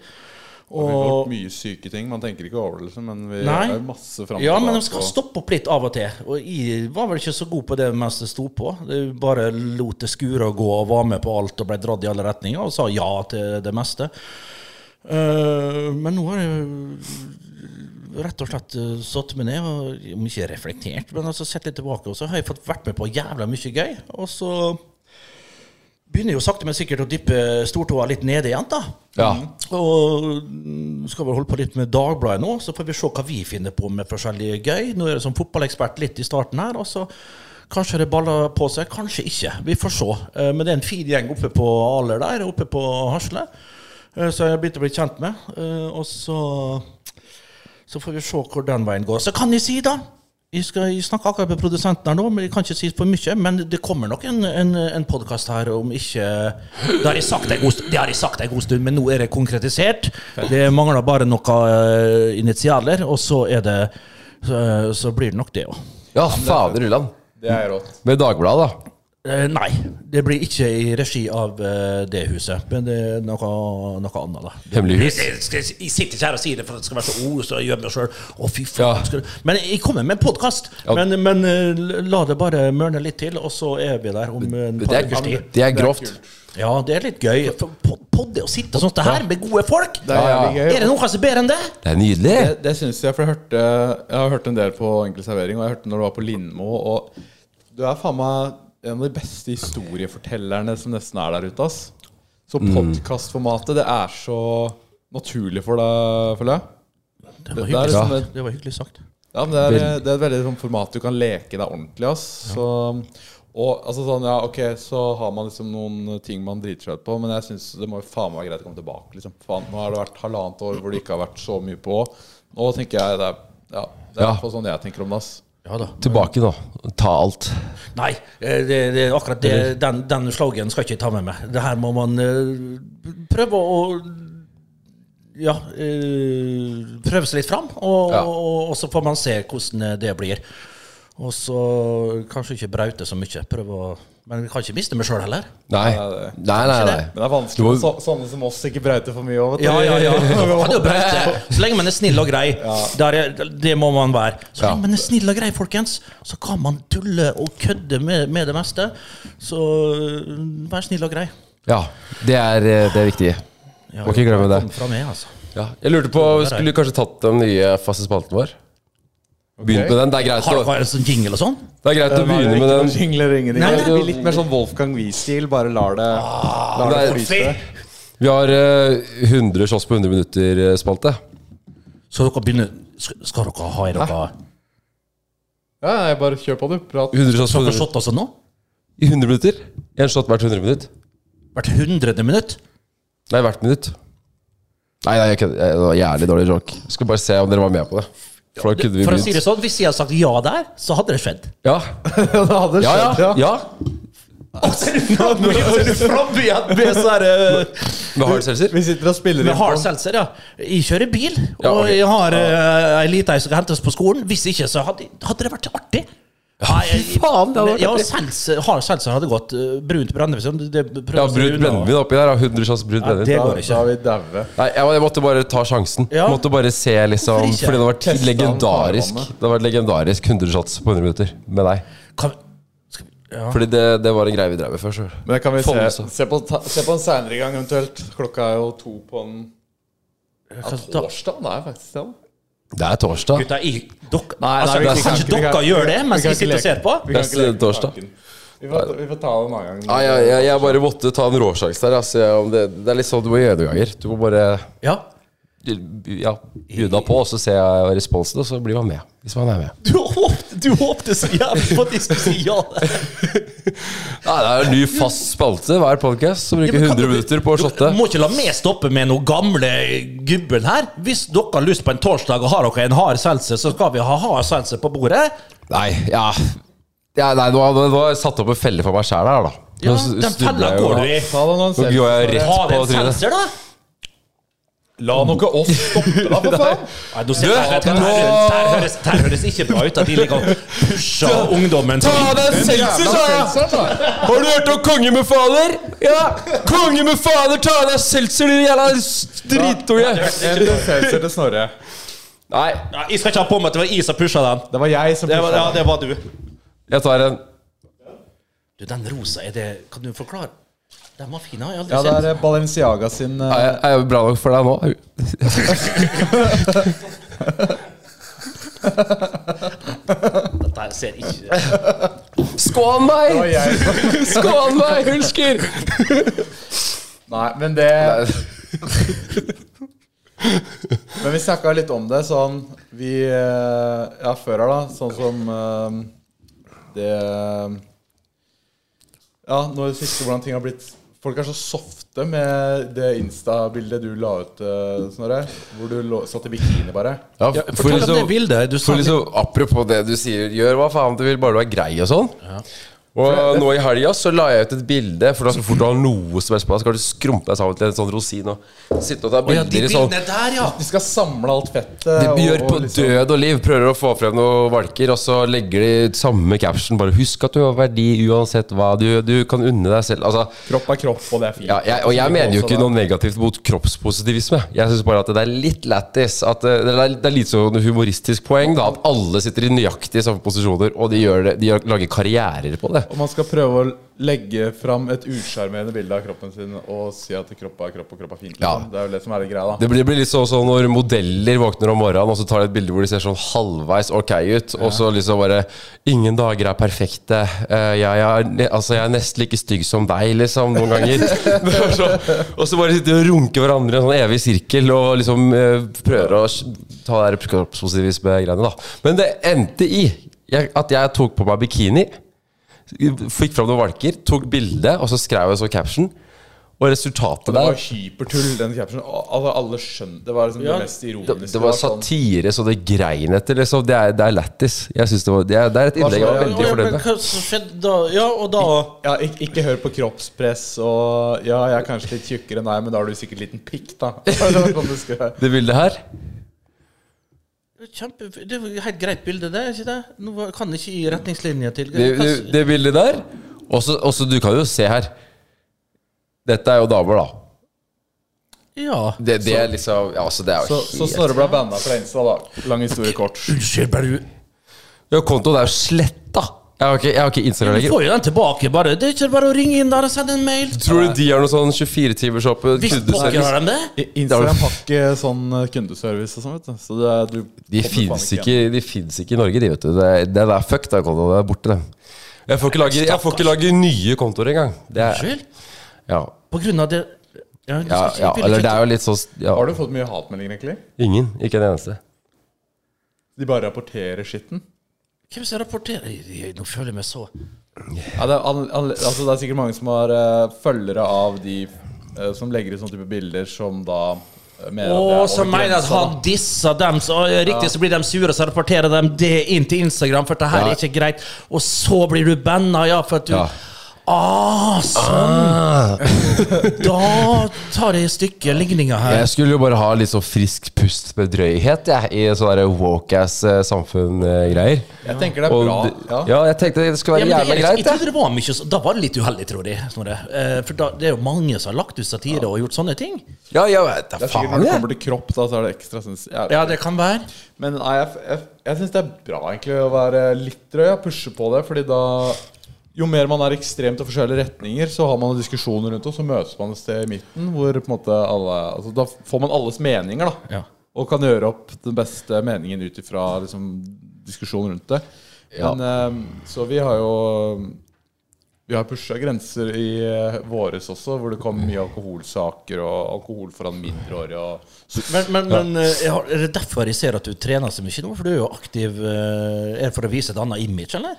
Speaker 5: Vi har
Speaker 4: Og,
Speaker 5: gjort mye syke ting. Man tenker ikke over det, liksom, men vi
Speaker 4: Nei.
Speaker 5: er jo masse fram
Speaker 4: Ja,
Speaker 5: og
Speaker 4: men de
Speaker 5: tilbake,
Speaker 4: skal
Speaker 5: og-
Speaker 4: stoppe opp litt av og til. Og jeg var vel ikke så god på det mens det sto på. Jeg bare lot det skure og gå og var med på alt og ble dratt i alle retninger og sa ja til det meste. Eh, men nå har jeg rett og slett eh, satt meg ned og om ikke reflektert, men altså sett litt tilbake. Og så har jeg fått vært med på jævla mye gøy. Og så begynner jeg jo sakte, men sikkert å dyppe stortåa litt ned igjen, da.
Speaker 3: Ja.
Speaker 4: Og mm, skal vi holde på litt med Dagbladet nå, så får vi se hva vi finner på med forskjellige gøy. Nå er det som fotballekspert litt i starten her, og så kanskje det baller på seg, kanskje ikke. Vi får se. Eh, Men det er en fin gjeng oppe på Aler der, oppe på Hasle, eh, så jeg har begynt å bli kjent med. Eh, Og så så får vi se hvor den veien går. Så kan jeg si, da Jeg, skal, jeg snakker akkurat med produsenten her nå, men jeg kan ikke si for mye. Men det kommer nok en, en, en podkast her om ikke Det har jeg sagt en god stund, det har jeg sagt en god stund men nå er det konkretisert. Det mangler bare noen eh, initialer, og så er det så, eh, så blir det nok det òg.
Speaker 3: ja fader ulland.
Speaker 5: Det er rått.
Speaker 3: Med Dagbladet, da.
Speaker 4: Eh, nei, det blir ikke i regi av eh, det huset, men det er noe, noe annet, da.
Speaker 3: Hemmelig hus.
Speaker 4: Jeg, jeg, jeg, jeg sitter ikke her og sier det for at det skal være så ord, så jeg gjør meg sjøl. Å, fy
Speaker 3: Ja.
Speaker 4: faen. skulle- Men jeg kommer med en podkast.
Speaker 3: Ja.
Speaker 4: Men, men eh, la det bare mørne litt til, og så er vi der om en
Speaker 3: Det
Speaker 4: par ukers
Speaker 3: er,
Speaker 4: tid.
Speaker 3: det er grovt.
Speaker 4: Ja, det er litt gøy. For pod- Podde og sitte og sånt det her med gode folk.
Speaker 5: Det er
Speaker 3: Ja, ja.
Speaker 5: jævlig gøy.
Speaker 4: Er det noe som er bedre enn det?
Speaker 3: Det er nydelig.
Speaker 5: Det, det syns jeg, for jeg, hørte, jeg har hørt en del på Enkel servering, og jeg hørte når du var på Lindmo, og du er faen meg en av de beste historiefortellerne som nesten er der ute, ass. Så podkastformatet, det er så naturlig for deg, føler jeg.
Speaker 4: Det var
Speaker 5: Det, det, er
Speaker 4: hyggelig,
Speaker 5: liksom, et-
Speaker 4: det var hyggelig sagt.
Speaker 5: ja, men det, er, det er et veldig sånn format du kan leke deg ordentlig. Ass. Så, og altså sånn, ja, ok, så har man liksom noen ting man driter seg ut på, men jeg synes det må jo faen meg være greit å komme tilbake. Liksom. Faen, nå har det vært halvannet år hvor det ikke har vært så mye på. Nå tenker jeg det er, ja, det er
Speaker 3: Ja.
Speaker 5: i hvert fall sånn jeg tenker om det. Ass.
Speaker 4: Ja da.
Speaker 3: Tilbake nå. Ta alt.
Speaker 4: Nei, eh, det, det, er akkurat det, den, den slogan skal jeg ikke ta med meg. Det her må man eh, prøve å ja, eh, prøve seg litt fram, og,
Speaker 3: Ja.
Speaker 4: og, og så får man se hvordan det eh, blir. Og så kanskje ikke braute så mye. Prøve å Men vi kan ikke miste meg sjøl heller.
Speaker 3: Nei,
Speaker 5: det-
Speaker 3: nei, nei. nei.
Speaker 5: Men det er vanskelig
Speaker 3: Du må-
Speaker 5: med så, sånne som oss ikke brauter for mye òg, vet du.
Speaker 4: Ja, ja, ja. Han er jo braute. Så lenge man er snill og grei. Der er, det må man være. Så
Speaker 3: Ja.
Speaker 4: lenge man er snill og grei, folkens, så kan man tulle og kødde med, med det meste. Så øh, vær snill og grei.
Speaker 3: Ja, det er eh, det viktige.
Speaker 4: Ja,
Speaker 3: Må ikke glemme det.
Speaker 4: Kom fra meg, altså.
Speaker 3: Ja. Jeg lurte på, skulle du kanskje tatt den nye faste spalten vår? Begynt med den. Det er greit
Speaker 4: Har
Speaker 3: å,
Speaker 4: dere en sånn jingle og sånn?
Speaker 3: det er greit å begynne med den.
Speaker 5: Nei,
Speaker 3: Nei,
Speaker 5: det blir litt mer sånn Wolfgang Wiesel, bare lar det, lar det
Speaker 3: det er-
Speaker 5: flyte.
Speaker 3: Vi har eh, 100 shots på eh, 100 minutter-spalte.
Speaker 4: Så dere begynner Skal skal dere ha i dere
Speaker 5: Ja, nei, bare kjør på, du. Prat.
Speaker 3: 100 shots på
Speaker 4: Dere
Speaker 3: 100,
Speaker 4: shot altså nå?
Speaker 3: I 100 minutter. Én shot hvert 100 minutt.
Speaker 4: Hvert hundrede minutt?
Speaker 3: Nei, hvert minutt. Nei, nei, jeg kødder. Jeg- Det var jævlig dårlig joke. Jeg Skal bare se om dere var med på det. For da kunne vi
Speaker 4: For å si det
Speaker 3: begynt.
Speaker 4: sånn, Hvis jeg hadde sagt ja der, så hadde det skjedd.
Speaker 3: Ja,
Speaker 5: Ja, det hadde
Speaker 3: ja,
Speaker 5: skjedd,
Speaker 3: ja.
Speaker 5: ja.
Speaker 3: ja.
Speaker 4: Med så her, øh,
Speaker 3: Med hard seltzer?
Speaker 5: Vi sitter og spiller
Speaker 4: med
Speaker 5: inn
Speaker 4: hard
Speaker 5: på
Speaker 4: seltzer, ja. Jeg kjører bil, og
Speaker 3: Ja, ok.
Speaker 4: jeg har øh, ei lita ei som skal hentes på skolen. Hvis ikke, så hadde, hadde det vært artig. Nei, jeg-
Speaker 3: faen, det hadde vært
Speaker 4: ja,
Speaker 3: artig.
Speaker 4: seltzer, Hard seltzer hadde gått. øh, Brunt brennevin. Det prøver
Speaker 3: Ja,
Speaker 4: å si
Speaker 3: brunt
Speaker 4: unna.
Speaker 3: brennevin oppi der. ja. 100 shots brunt
Speaker 4: Ja,
Speaker 3: brennevin.
Speaker 4: det
Speaker 5: Da,
Speaker 4: går
Speaker 5: da
Speaker 4: ikke.
Speaker 5: er vi daue.
Speaker 3: Nei, jeg, jeg måtte bare ta sjansen.
Speaker 4: Ja.
Speaker 3: Måtte bare se liksom
Speaker 4: Hvorfor ikke?
Speaker 3: Fordi det har vært
Speaker 5: Teste den
Speaker 3: legendarisk.
Speaker 5: farvannet.
Speaker 3: Det har vært legendarisk 100 shots på 100 minutter med deg.
Speaker 4: Kan, skal vi, ja.
Speaker 3: Fordi det, det var en greie vi drev med før. Så.
Speaker 5: Men det kan vi
Speaker 3: Folle,
Speaker 5: se,
Speaker 3: så.
Speaker 5: se, på, ta, se på en seinere gang, eventuelt. Klokka er jo to på en ja,
Speaker 4: da-
Speaker 5: torsdag. Nei, faktisk det. da.
Speaker 3: Det er torsdag.
Speaker 4: Gutta, jeg, dere,
Speaker 5: Nei, nei,
Speaker 4: altså,
Speaker 5: vi- vi kan
Speaker 4: kanskje
Speaker 5: ikke- vi kan-
Speaker 4: dere gjør det mens
Speaker 5: vi kan
Speaker 4: vi sitter
Speaker 5: ikke
Speaker 4: og ser på?
Speaker 5: Vi kan ikke
Speaker 3: Neste
Speaker 5: leke med
Speaker 3: torsdag.
Speaker 5: tanken. Vi får, vi får ta det en annen gang.
Speaker 3: Nei, jeg, jeg, jeg bare måtte ta en råsjanse der. Altså, om det, det er litt sånn du må gjøre noen ganger. Du må bare
Speaker 4: Ja.
Speaker 3: ja, bjuda på, og så ser jeg responsen, og så blir man med. Hvis man er med.
Speaker 4: Du håpte, du håpte så jævlig på at jeg skulle si ja.
Speaker 3: Nei, det er en ny fast spalte hver podcast som
Speaker 4: Ja,
Speaker 3: bruker
Speaker 4: men
Speaker 3: 100
Speaker 4: kan dere-
Speaker 3: minutter på å shotte.
Speaker 4: Dere må ikke la meg stoppe med noe gamle gubben her. Hvis dere har lyst på en torsdag og har dere en hard seltzer, så skal vi ha hard seltzer på bordet.
Speaker 3: Nei, ja, ja Nei, nå har nå har jeg satt opp en felle for meg sjæl her, da.
Speaker 4: Ja,
Speaker 3: Nå s-
Speaker 4: den
Speaker 3: snubler
Speaker 4: fella
Speaker 3: jeg jo.
Speaker 4: går du i.
Speaker 5: Ta det noen
Speaker 3: Nå går jeg
Speaker 5: selfies.
Speaker 3: rett
Speaker 4: Ha
Speaker 3: på
Speaker 4: deg en
Speaker 3: trynet.
Speaker 4: seltzer, da.
Speaker 5: La nå ikke oss stoppe deg, for faen!
Speaker 4: Nei, nå ser
Speaker 3: Du,
Speaker 4: jeg at det her
Speaker 3: nå-
Speaker 4: høres- det her høres, det her høres ikke bra ut at de ligger og pusher ungdommen.
Speaker 3: Ta deg en seltzer, sa jeg! Har du hørt om konge med fader? Ja! Konge med fader, ta deg en seltzer, din jævla s- dritunge!
Speaker 5: En seltzer til Snorre.
Speaker 3: Nei,
Speaker 4: Ja, jeg skal ikke ha på meg at det var jeg som pusha den.
Speaker 5: Det var jeg som
Speaker 4: Det var, ja,
Speaker 5: pusha.
Speaker 4: det var du.
Speaker 3: jeg tar en.
Speaker 4: Du, den rosa, er det Kan du forklare? Den var fin, den har jeg aldri
Speaker 5: Ja, det
Speaker 4: sett.
Speaker 5: er Balenciaga sin eh,
Speaker 3: Er jeg, er jeg bra nok for deg nå?
Speaker 4: Dette her ser ikke
Speaker 3: Skån
Speaker 5: det var
Speaker 3: meg!
Speaker 5: jeg som-
Speaker 3: Skån meg, hulsker!
Speaker 5: Nei, men det Men vi snakka litt om det sånn Vi eh, Ja, før her, da. Sånn som eh, det Ja, nå i det siste hvordan ting har blitt Folk er så softe med det Insta-bildet du la ut, eh, Snorre. Hvor du lå, satt i bikini, bare.
Speaker 3: Ja, for
Speaker 4: Fortell om det
Speaker 3: liksom,
Speaker 4: bildet. Du sa
Speaker 3: for liksom, apropos det du sier, gjør hva faen du vil, bare du er grei og sånn. Og nå i helga så la jeg ut et bilde, for da så fort du har noe som helst på deg, så skal du skrumpe deg sammen til en sånn rosin og sitte og ta
Speaker 4: Å ja, de
Speaker 3: bilder i sånn
Speaker 4: bildene der, ja.
Speaker 5: De skal samle alt fettet. og-
Speaker 3: De gjør på
Speaker 5: og liksom-
Speaker 3: død og liv, prøver å få frem noen valker, og så legger de samme caption. Bare husk at du har verdi uansett hva. Du, du kan unne deg selv. Altså,
Speaker 5: Kropp er kropp, og det er fint.
Speaker 3: ja, jeg, og jeg mener jo ikke noe negativt mot kroppspositivisme. Jeg syns bare at det er litt lættis. At eh, det er, det er litt sånn humoristisk poeng da at alle sitter i nøyaktig samme posisjoner, og de, gjør det, de gjør- lager karrierer på det.
Speaker 5: Og man skal prøve å legge fram et usjarmerende bilde av kroppen sin og si at kropp er kropp, og kropp er fint.
Speaker 3: Ja.
Speaker 5: Liksom. Det er jo det som er det greia, da.
Speaker 3: Det blir, blir litt sånn sånn når modeller våkner om morgenen og så tar de et bilde hvor de ser sånn halvveis ok ut, og så liksom bare 'Ingen dager er perfekte. Eh, jeg, jeg, er ne- altså, jeg er nesten like stygg som deg', liksom, noen ganger. Det er så, og så bare sitter de og runker hverandre i en sånn evig sirkel og liksom eh, prøver å s- ta det der kroppspositivisme-greiene, da. Men det endte i jeg, at jeg tok på meg bikini, fikk fram noen valker, tok bilde, og så skrev jeg så caption. Og resultatet
Speaker 5: Det var
Speaker 3: der
Speaker 5: hypertull, den captionen. Al- Altså, alle skjønte Det var liksom det mest ironiske.
Speaker 3: Det, det var
Speaker 5: sånn-
Speaker 3: satire så det grein etter, liksom. Det er, det er lættis. Jeg synes det, var, det, er, det er et innlegg jeg var
Speaker 5: Ja,
Speaker 3: veldig
Speaker 4: Ja,
Speaker 3: fornøyd
Speaker 4: men
Speaker 3: med.
Speaker 4: hva som skjedde da? Ja, og da
Speaker 5: sånn, ja, ikke, ikke hør på kroppspress og Ja, jeg er kanskje litt tjukkere enn deg, men da har du sikkert liten pikk, da. Det var sånn det skulle være.
Speaker 3: Det bildet her
Speaker 4: Kjempe, det er jo et helt greit bilde, det. ikke det? Nå var- kan ikke gi retningslinjer til
Speaker 3: Det, det, det bildet der Også, også du kan jo se her Dette er jo damer da
Speaker 4: Ja.
Speaker 3: Det, det er liksom ja, altså, det er jo
Speaker 5: Så, så
Speaker 3: helt-
Speaker 5: Snorre ble banna fra Insta, da. Lang historie kort.
Speaker 4: Unnskyld, bare du
Speaker 3: Ja, kontoen er jo sletta Jeg har ikke, jeg har ikke Instagram
Speaker 4: Du
Speaker 3: lenger
Speaker 4: får jo den tilbake, bare. Det er ikke bare å ringe inn der og sende en mail.
Speaker 3: Tror du de har noe sånn 24-timers oppe?
Speaker 4: Visst pokker har de det?
Speaker 5: Instagram har ikke sånn eh, kundeservice og sånn, vet du. Så det er, du
Speaker 3: De
Speaker 5: kommer
Speaker 3: fins
Speaker 5: faen
Speaker 3: ikke, de finnes ikke i Norge, de, vet du. Det, er- det er fucked, da, kontoen. Det er borte, det. Jeg får ikke lage, jeg får ikke lage nye kontoer engang. Det er,
Speaker 4: Unnskyld?
Speaker 3: ja,
Speaker 4: På grunn av det
Speaker 3: ja,
Speaker 4: Ja, du skal ikke-
Speaker 3: ja,
Speaker 4: vil
Speaker 3: eller
Speaker 4: ikke-
Speaker 3: det er jo litt sånn ja.
Speaker 5: Har du fått mye hatmeldinger, egentlig?
Speaker 3: Ingen. Ikke en eneste.
Speaker 5: De bare rapporterer skitten?
Speaker 4: Hvem som rapporterer Ei, ei, Nå føler jeg meg så
Speaker 5: Ja, det, er, an, an, altså, det er sikkert mange som har eh, følgere av de eh, som legger ut sånne type bilder som da eh, mener at det er
Speaker 4: Å, som
Speaker 5: over
Speaker 4: mener at
Speaker 5: grensa, da.
Speaker 4: han disser dem. Så, eh, riktig så blir de sure, så rapporterer de det inn til Instagram, for det her er ikke greit. Og så blir du banna, ja, for at du
Speaker 3: Ja.
Speaker 4: Ah, sånn!
Speaker 3: Ah.
Speaker 4: Da tar jeg i stykker ligninga her.
Speaker 3: Jeg skulle jo bare ha litt sånn frisk pust med drøyhet, jeg, i sånn sånne eh, woke-ass-samfunn-greier.
Speaker 5: Jeg tenker det er bra. Ja.
Speaker 3: ja, jeg tenkte det skulle være
Speaker 4: Ja, men det
Speaker 3: jævla
Speaker 4: er liksom-
Speaker 3: greit,
Speaker 4: jeg
Speaker 3: jeg.
Speaker 4: trodde det var mye så, Da var det litt uheldig, tror jeg. Snorre. Eh, For da, det er jo mange som har lagt ut satire og gjort sånne ting.
Speaker 3: Ja, ja, vet da
Speaker 5: Det er sikkert
Speaker 3: faen,
Speaker 5: når det
Speaker 3: jeg.
Speaker 5: kommer til kropp, da, så er det ekstra sens... Ja,
Speaker 4: Ja, det kan være.
Speaker 5: Men nei, jeg, jeg, jeg syns det er bra egentlig å være litt drøy og pushe på det. Fordi da Jo mer man er ekstremt og forskjellige retninger, så har man diskusjoner rundt det, og så møtes man et sted i midten hvor på en måte alle altså, Da får man alles meninger, da.
Speaker 4: Ja.
Speaker 5: Og kan gjøre opp den beste meningen ut ifra liksom, diskusjonen rundt det.
Speaker 3: Ja.
Speaker 5: Men, eh, så vi har jo vi har pusha grenser i eh, våres også, hvor det kom mye alkoholsaker og alkohol foran mindreårige. Og
Speaker 4: Men, men, men eh, jeg har, er det derfor jeg ser at du trener så mye nå? For du er jo aktiv eh, Er det for å vise et annet image, eller?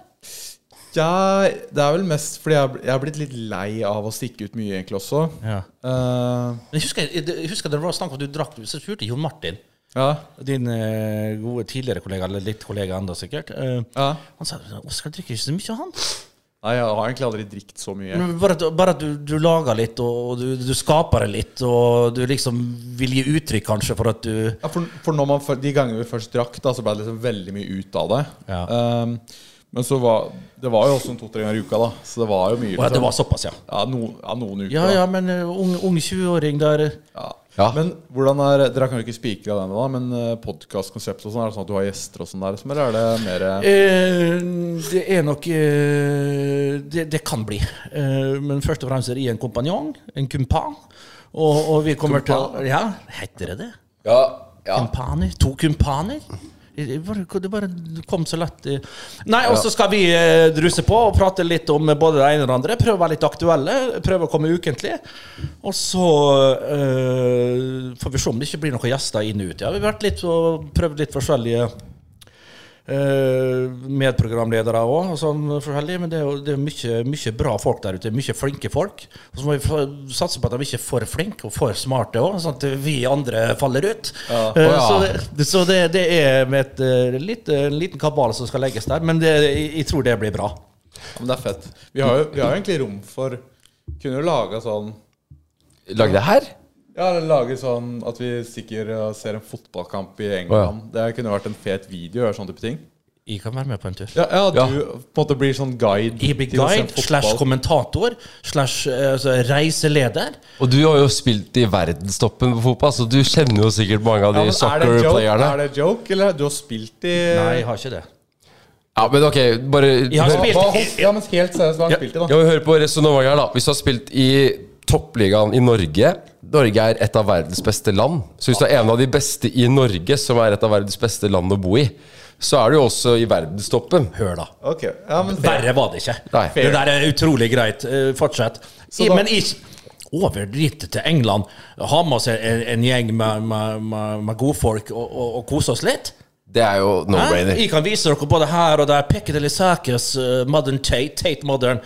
Speaker 5: Ja, det er vel mest fordi jeg, jeg er blitt litt lei av å stikke ut mye, egentlig også.
Speaker 4: Ja.
Speaker 5: Eh,
Speaker 4: Men Jeg husker, jeg, jeg husker det var snakk om at du drakk Så spurte Jon Martin,
Speaker 5: ja,
Speaker 4: din eh, gode tidligere kollega, eller litt kollega enda sikkert eh,
Speaker 5: ja.
Speaker 4: Han sa Oskar drikker ikke så mye, han.
Speaker 5: Nei, jeg har egentlig aldri drikt så mye.
Speaker 4: Men Bare at, bare at du, du lager litt, og du, du skaper det litt, og du liksom vil gi uttrykk, kanskje, for at du
Speaker 5: Ja, for, for når man, fø- de gangene vi først drakk, da, så ble det liksom veldig mye ut av det.
Speaker 4: Ja.
Speaker 5: Ehm, men så var det var jo også en to-tre ganger i uka, da. Så det var jo mye.
Speaker 4: Å ja, det
Speaker 5: liksom.
Speaker 4: var såpass, ja.
Speaker 5: ja, no, ja, noen uker.
Speaker 4: Ja
Speaker 5: da.
Speaker 4: ja, men eh, ung, ung 20-åring der eh,
Speaker 5: Ja.
Speaker 3: Ja.
Speaker 5: Men hvordan er Dere kan jo ikke spikre den, da, men eh, podcastkonsept og sånn, er det sånn at du har gjester og sånn der, som, eller er det mer eh,
Speaker 4: Eh, det er nok eh, det, det kan bli. Eh, men først og fremst er det en kompanjong, en kumpan. Og, og vi kommer til Ja, heter det det?
Speaker 3: Ja, ja.
Speaker 4: Kumpaner? To kumpaner? Eh, Det bare- det bare kom så lett eh. Nei, og så skal vi eh, druse på og prate litt om både det ene og det andre. Prøve å være litt aktuelle. Prøve å komme ukentlig. Og så eh, får vi se om det ikke blir noen gjester inn og ut. Ja, vi har vært litt og prøvd litt forskjellige eh, medprogramledere òg, og sånn forskjellig. Men det er jo det er mye, mye bra folk der ute. Mye flinke folk. Og så må vi få- satse på at de ikke er for flinke og for smarte òg, sånn at vi andre faller ut. Eh,
Speaker 3: Å, ja.
Speaker 4: Så, det, så det, det er med et, eh, litt, en liten kabal som skal legges der, men det, jeg, jeg tror det blir bra.
Speaker 5: Ja, Men det er fett. Vi har jo, vi har jo egentlig rom for Kunne jo laga sånn
Speaker 3: Lagde jeg her?
Speaker 5: Ja, eller lage sånn at vi stikker og ser en fotballkamp i England. Det kunne vært en fet video. Gjøre sånne type ting.
Speaker 4: Jeg kan være med på en tur.
Speaker 5: Ja, ja du
Speaker 3: Ja.
Speaker 5: på en måte blir sånn guide.
Speaker 4: Jeg blir
Speaker 5: til å se en
Speaker 4: guide slash
Speaker 5: fotball.
Speaker 4: kommentator slash eh, altså, reiseleder.
Speaker 3: Og du har jo spilt i verdenstoppen på fotball, så du kjenner jo sikkert mange av
Speaker 5: Ja,
Speaker 3: de
Speaker 5: men er, det joke,
Speaker 3: soccer-playerne.
Speaker 5: er det joke, eller? Du har spilt i
Speaker 4: Nei, jeg har ikke det.
Speaker 3: Ja, men ok, bare
Speaker 4: har
Speaker 3: hør,
Speaker 5: Hva-
Speaker 4: spilt-
Speaker 5: hva- Ja, men helt seriøst, hva har du spilt i,
Speaker 3: ja,
Speaker 5: da?
Speaker 3: men hør på resonnementet her, da. Hvis du har spilt i toppligaen i Norge Norge er et av verdens beste land. Så hvis du er en av de beste i Norge, som er et av verdens beste land å bo i, så er du jo også i verdenstoppen.
Speaker 4: Hør, da.
Speaker 5: Ok, ja, men fair.
Speaker 4: Verre var det ikke.
Speaker 3: Nei.
Speaker 4: Det der er utrolig greit. Eh, Fortsett. I,
Speaker 5: da-
Speaker 4: men ikke over dit til England. Ha med oss en, en gjeng med, med, med, med godfolk og, og, og kose oss litt.
Speaker 3: Det er jo
Speaker 4: Hæ?
Speaker 3: no-brainer.
Speaker 4: Jeg kan vise dere både her og der. Piccadilly Circus, eh, Modern Tate, Tate Modern,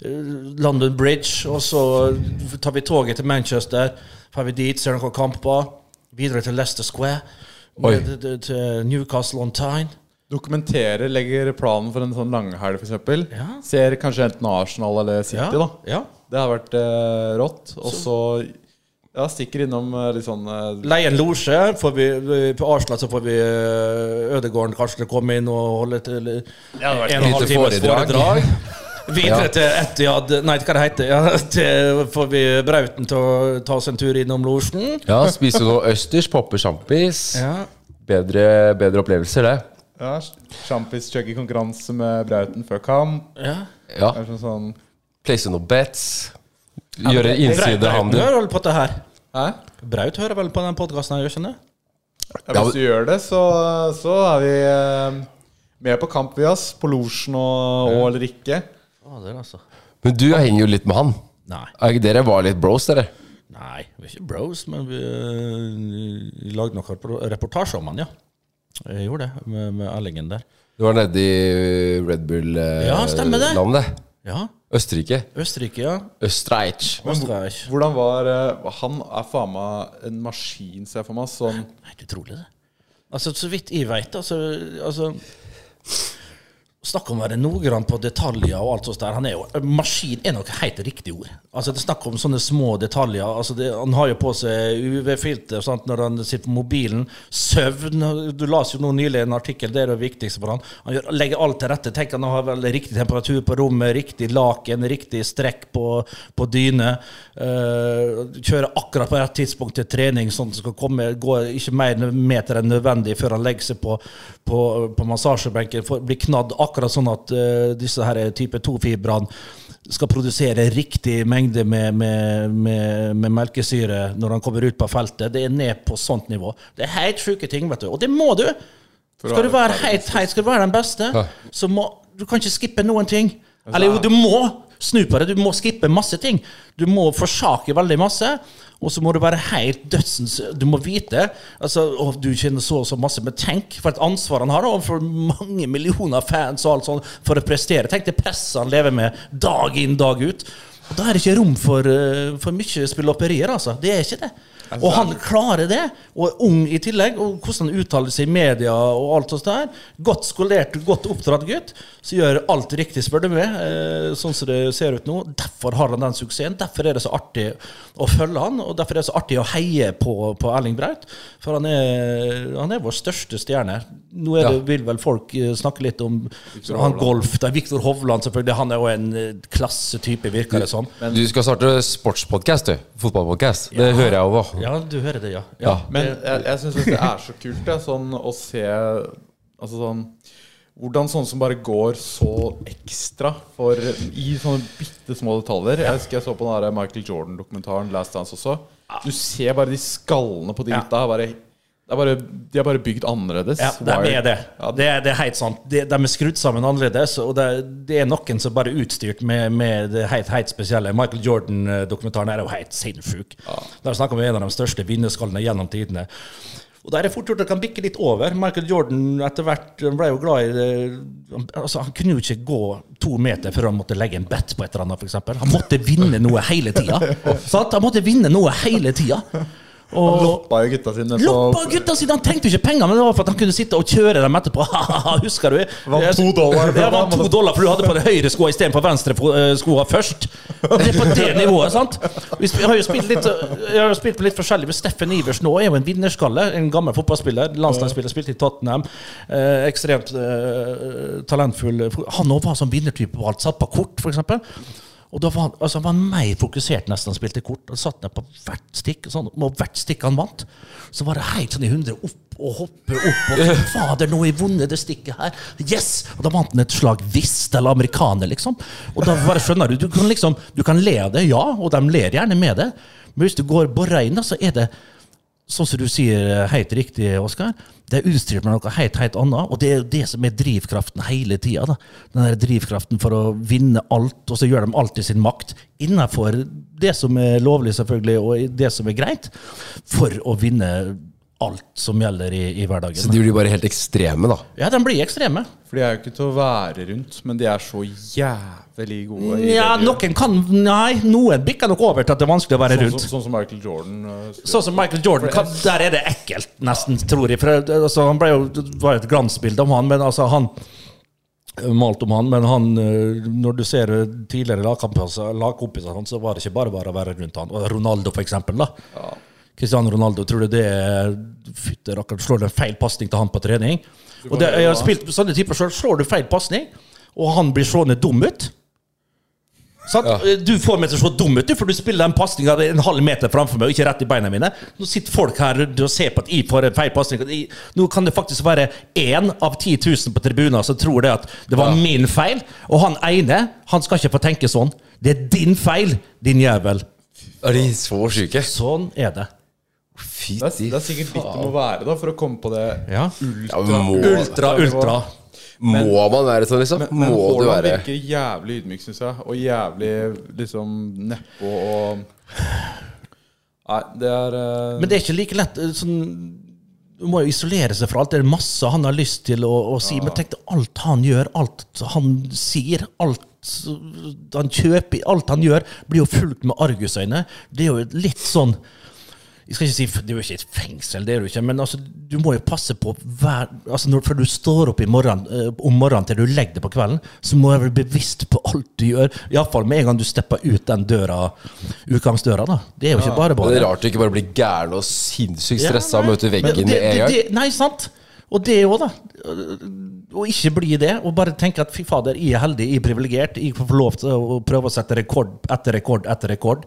Speaker 4: eh, London Bridge. Og så tar vi toget til Manchester. Får vi dit, ser noen kamper. Videre til Leicester Square.
Speaker 3: Oi.
Speaker 4: Ned Til til Newcastle on Tyne.
Speaker 5: Dokumenterer, legger planen for en sånn langhelg, f.eks.
Speaker 4: Ja.
Speaker 5: Ser kanskje enten Arsenal eller City, da.
Speaker 4: ja.
Speaker 5: Det har vært eh, rått. Og så Ja, stikker innom eh, litt sånn eh,
Speaker 4: Leie en losje. Får vi, vi- på Arsenal så får vi eh, Ødegården kanskje til å komme inn og holde til en og en halv
Speaker 3: Lite
Speaker 4: times
Speaker 3: foredrag.
Speaker 4: foredrag. Videre til Etihad Nei, hva det heter ja, til, får vi Brauten til å ta oss en tur innom losjen.
Speaker 3: Ja, spise noe østers, poppe sjampis.
Speaker 4: Ja.
Speaker 3: Bedre, bedre opplevelser, det.
Speaker 5: ja, Sjampis chugger konkurranse med Brauten før kamp.
Speaker 4: Ja.
Speaker 3: Ja.
Speaker 5: Det er sånn sånn
Speaker 3: Place noen bets. Gjøre
Speaker 4: Brauten
Speaker 3: innsidehandel.
Speaker 4: hører vel på det her?
Speaker 5: Hæ?
Speaker 4: Braut hører vel på den podkasten her, gjør ikke det?
Speaker 5: Ja, hvis du gjør det, så, så er vi eh, med på kamp, vi, ass. På losjen og, og eller ikke.
Speaker 4: Fader, altså.
Speaker 3: Men du henger jo litt med han.
Speaker 4: Nei.
Speaker 3: Er ikke dere var litt bros, dere?
Speaker 4: Nei, vi er ikke bros, men vi, eh, vi lagde noen repor- reportasjer om han, ja. Jeg gjorde det, med, med Ellingen der.
Speaker 3: Du var nede i Red Bull-landet.
Speaker 4: Ja, stemmer det. Ja,
Speaker 3: Østerrike.
Speaker 4: Østerrike, ja.
Speaker 3: Østerreich.
Speaker 4: Østerreich.
Speaker 5: Hvordan var eh, Han er faen meg en maskin, ser jeg for meg. Sånn
Speaker 4: Helt utrolig, det. Altså, så vidt jeg veit, altså, altså Snakk om å være noggrann på detaljer og alt sånt der. Han er jo, maskin er nok helt riktig ord. Altså Det er snakk om sånne små detaljer. Altså det, Han har jo på seg UV-filter sant, når han sitter på mobilen. Søvn Du las jo nå nylig en artikkel, det er det viktigste for han. Han gjør, legger alt til rette. Tenk han har vel riktig temperatur på rommet, riktig laken, riktig strekk på, på dyne. Eh, kjører akkurat på rett tidspunkt til trening, sånn at det skal komme, gå ikke mer enn meter enn nødvendig før han legger seg på, på, på massasjebenken. For, blir knadd akkurat sånn at eh, disse her type 2-fibrene skal produsere riktig mengde med, med, med, med melkesyre når han kommer ut på feltet. Det er ned på sånt nivå. Det er helt sjuke ting, vet du. Og det må du! Skal du være helt, helt, skal du være den beste,
Speaker 3: Ja.
Speaker 4: så må Du kan ikke skippe noen ting. Eller jo, du må snu på det. Du må skippe masse ting. Du må forsake veldig masse. Og så må du være helt dødsens Du må vite altså, å, Du kjenner så og så masse, men tenk for et ansvar han har overfor mange millioner fans og alt sånt for å prestere. Tenk det presset han lever med dag inn, dag ut. Og Da er det ikke rom for, eh, for mye spillopperier, altså. Det er ikke det. Og han klarer det, og er ung i tillegg. Og hvordan han uttaler seg i media og alt sånt der. Godt skolert, godt oppdratt gutt. Så gjør alt riktig, spør du meg, eh, sånn som det ser ut nå. Derfor har han den suksessen. Derfor er det så artig å følge han, og derfor er det så artig å heie på, på Erling Braut. For han er, han er vår største stjerne. Nå er det, vil vel folk eh, snakke litt om han golf. Det er Viktor Hovland, selvfølgelig. Han er jo en eh, klassetype, virker det som.
Speaker 3: Du skal starte sportspodkast, du. Fotballpodkast. Det hører jeg over.
Speaker 4: Ja, du hører det, ja.
Speaker 3: Ja.
Speaker 5: Men jeg, jeg syns det er så kult det, sånn, å se altså, sånn, hvordan sånne som bare går så ekstra for, i sånne bitte små detaljer. Jeg husker jeg så på den der Michael Jordan-dokumentaren Last Dance også. Du ser bare de skallene på de gutta. her, Bare, det er bare, de er bare bygd annerledes.
Speaker 4: Ja, de
Speaker 5: Wired.
Speaker 4: er det.
Speaker 5: Ja,
Speaker 4: Det er, det er helt sant. De, de er skrudd sammen annerledes, og det, det er noen som bare er utstyrt med, med det helt, helt spesielle. Michael Jordan-dokumentaren er jo helt sinnssyk. Der snakker vi om en av de største vinnerskallene gjennom tidene. Og der er fort gjort at det kan bikke litt over. Michael Jordan etter hvert han ble jo glad i det. Han- Altså, han kunne jo ikke gå to meter før han måtte legge en bet på et eller annet, for eksempel Han måtte vinne noe hele tida. Sant? Han måtte vinne noe hele tida. Og,
Speaker 5: Loppa jo gutta sine
Speaker 4: Loppa gutta sine! Han trengte jo ikke penger, men det var for at han kunne sitte og kjøre dem etterpå. Husker du?
Speaker 5: Vant to dollar.
Speaker 4: Ja, vant to dollar, for du hadde på den høyre skoa istedenfor venstre fo- eh, skoa først. Det er på det nivået, sant? Vi sp- har jo spilt litt, eh, jeg har jo spilt på litt forskjellig med Steffen Iversen òg. Er jo en vinnerskalle. En gammel fotballspiller. Landslagsspiller, spilte i Tottenham. Eh, ekstremt eh, talentfull. Han òg var sånn vinnertype på alt. Satt på kort, f.eks. Og da var han, altså han var mer fokusert nesten han spilte kort. Han satt ned på hvert stikk, og sånn, og hvert stikk han vant, så var det helt sånn i hundre opp og hoppe opp. Og fader, nå har jeg vunnet det stikket her! Yes! Og da vant han et slag visst, eller amerikaner, liksom. Og da bare skjønner du, du kan liksom, du kan le av det, ja, og de ler gjerne med det, men hvis du går borra inn, da, så er det sånn som du sier helt riktig, Oskar, det er utstyrt med noe helt, helt annet. Og det er jo det som er drivkraften hele tida. Den der drivkraften for å vinne alt, og så gjør de alt i sin makt. Innenfor det som er lovlig, selvfølgelig, og i det som er greit, for å vinne alt som gjelder i, i
Speaker 3: Så
Speaker 4: hverdagen.
Speaker 3: de blir bare helt ekstreme, da.
Speaker 4: Ja, de blir ekstreme.
Speaker 5: For de er jo ikke til å være rundt, men de er så jævlig gode. i
Speaker 4: Ja,
Speaker 5: det de gjør.
Speaker 4: noen kan Nei, noen bikker nok over til at det er vanskelig å være
Speaker 5: Sånn,
Speaker 4: rundt.
Speaker 5: som- sånn som Michael Jordan. eh,
Speaker 4: Sånn som Michael Jordan, hva, der er det ekkelt, nesten, tror jeg. For, altså, han ble jo, det var jo et glansbilde om han, men altså, han malt om han, men han, eh, når du ser tidligere lagkompiser, lagkompiser hans, så var det ikke bare bare å være rundt han. Og Ronaldo, for eksempel. da. Cristiano Ronaldo, tror du det er- Fytte rakkeren, slår du en feil pasning til han på trening? Og det, jeg har spilt med sånne typer selv. Slår du feil pasning, og han blir slående dum ut Sant? Eh, Du får meg til å se dum ut, du, for du spiller den pasninga en halv meter framfor meg, og ikke rett i beina mine. Nå sitter folk her rundt og ser på at jeg får en feil pasning. Jeg- Nå kan det faktisk være én av 10 000 på tribunen som tror det at det var min feil. Og han ene, han skal ikke få tenke sånn. Det er din feil, din jævel.
Speaker 3: Er de så syke?
Speaker 4: Sånn er det.
Speaker 3: Fy
Speaker 5: Det er, det er sikkert litt det må være da for å komme på det.
Speaker 4: Ja.
Speaker 3: Ja, men må,
Speaker 4: Ultra, ultra.
Speaker 3: må man være sånn, liksom?
Speaker 5: Men
Speaker 3: må du
Speaker 5: Haaland
Speaker 3: være
Speaker 5: virker jævlig ydmyk, syns jeg. Og jævlig liksom nedpå og Nei, det er eh,
Speaker 4: Men det er ikke like lett eh, sånn Du må jo isolere seg fra alt. Det er masse han har lyst til å, å si. Men tenk deg alt han gjør, alt han sier, alt han kjøper, alt han gjør, blir jo fulgt med argusøyne. Det er jo litt sånn jeg skal ikke si, Det er jo ikke et fengsel, det er det jo ikke, men altså, du må jo passe på hver altså når, Før du står opp i morgen, eh, om morgenen til du legger deg på kvelden, så må du være bevisst på alt du gjør. Iallfall med en gang du stepper ut den døra, utgangsdøra. da. Det er jo ikke bare
Speaker 3: Det
Speaker 4: bare.
Speaker 3: er rart du ikke bare blir gæren og sinnssykt
Speaker 4: Ja,
Speaker 3: stressa og
Speaker 4: nei.
Speaker 3: møter
Speaker 4: Men
Speaker 3: veggen
Speaker 4: det-
Speaker 3: med en
Speaker 4: det-
Speaker 3: gang.
Speaker 4: det- Nei, sant. Og det òg, da. Å ikke bli det, og bare tenke at fy fader, jeg er heldig, jeg er privilegert. Jeg får lov til å prøve å sette rekord etter rekord etter rekord.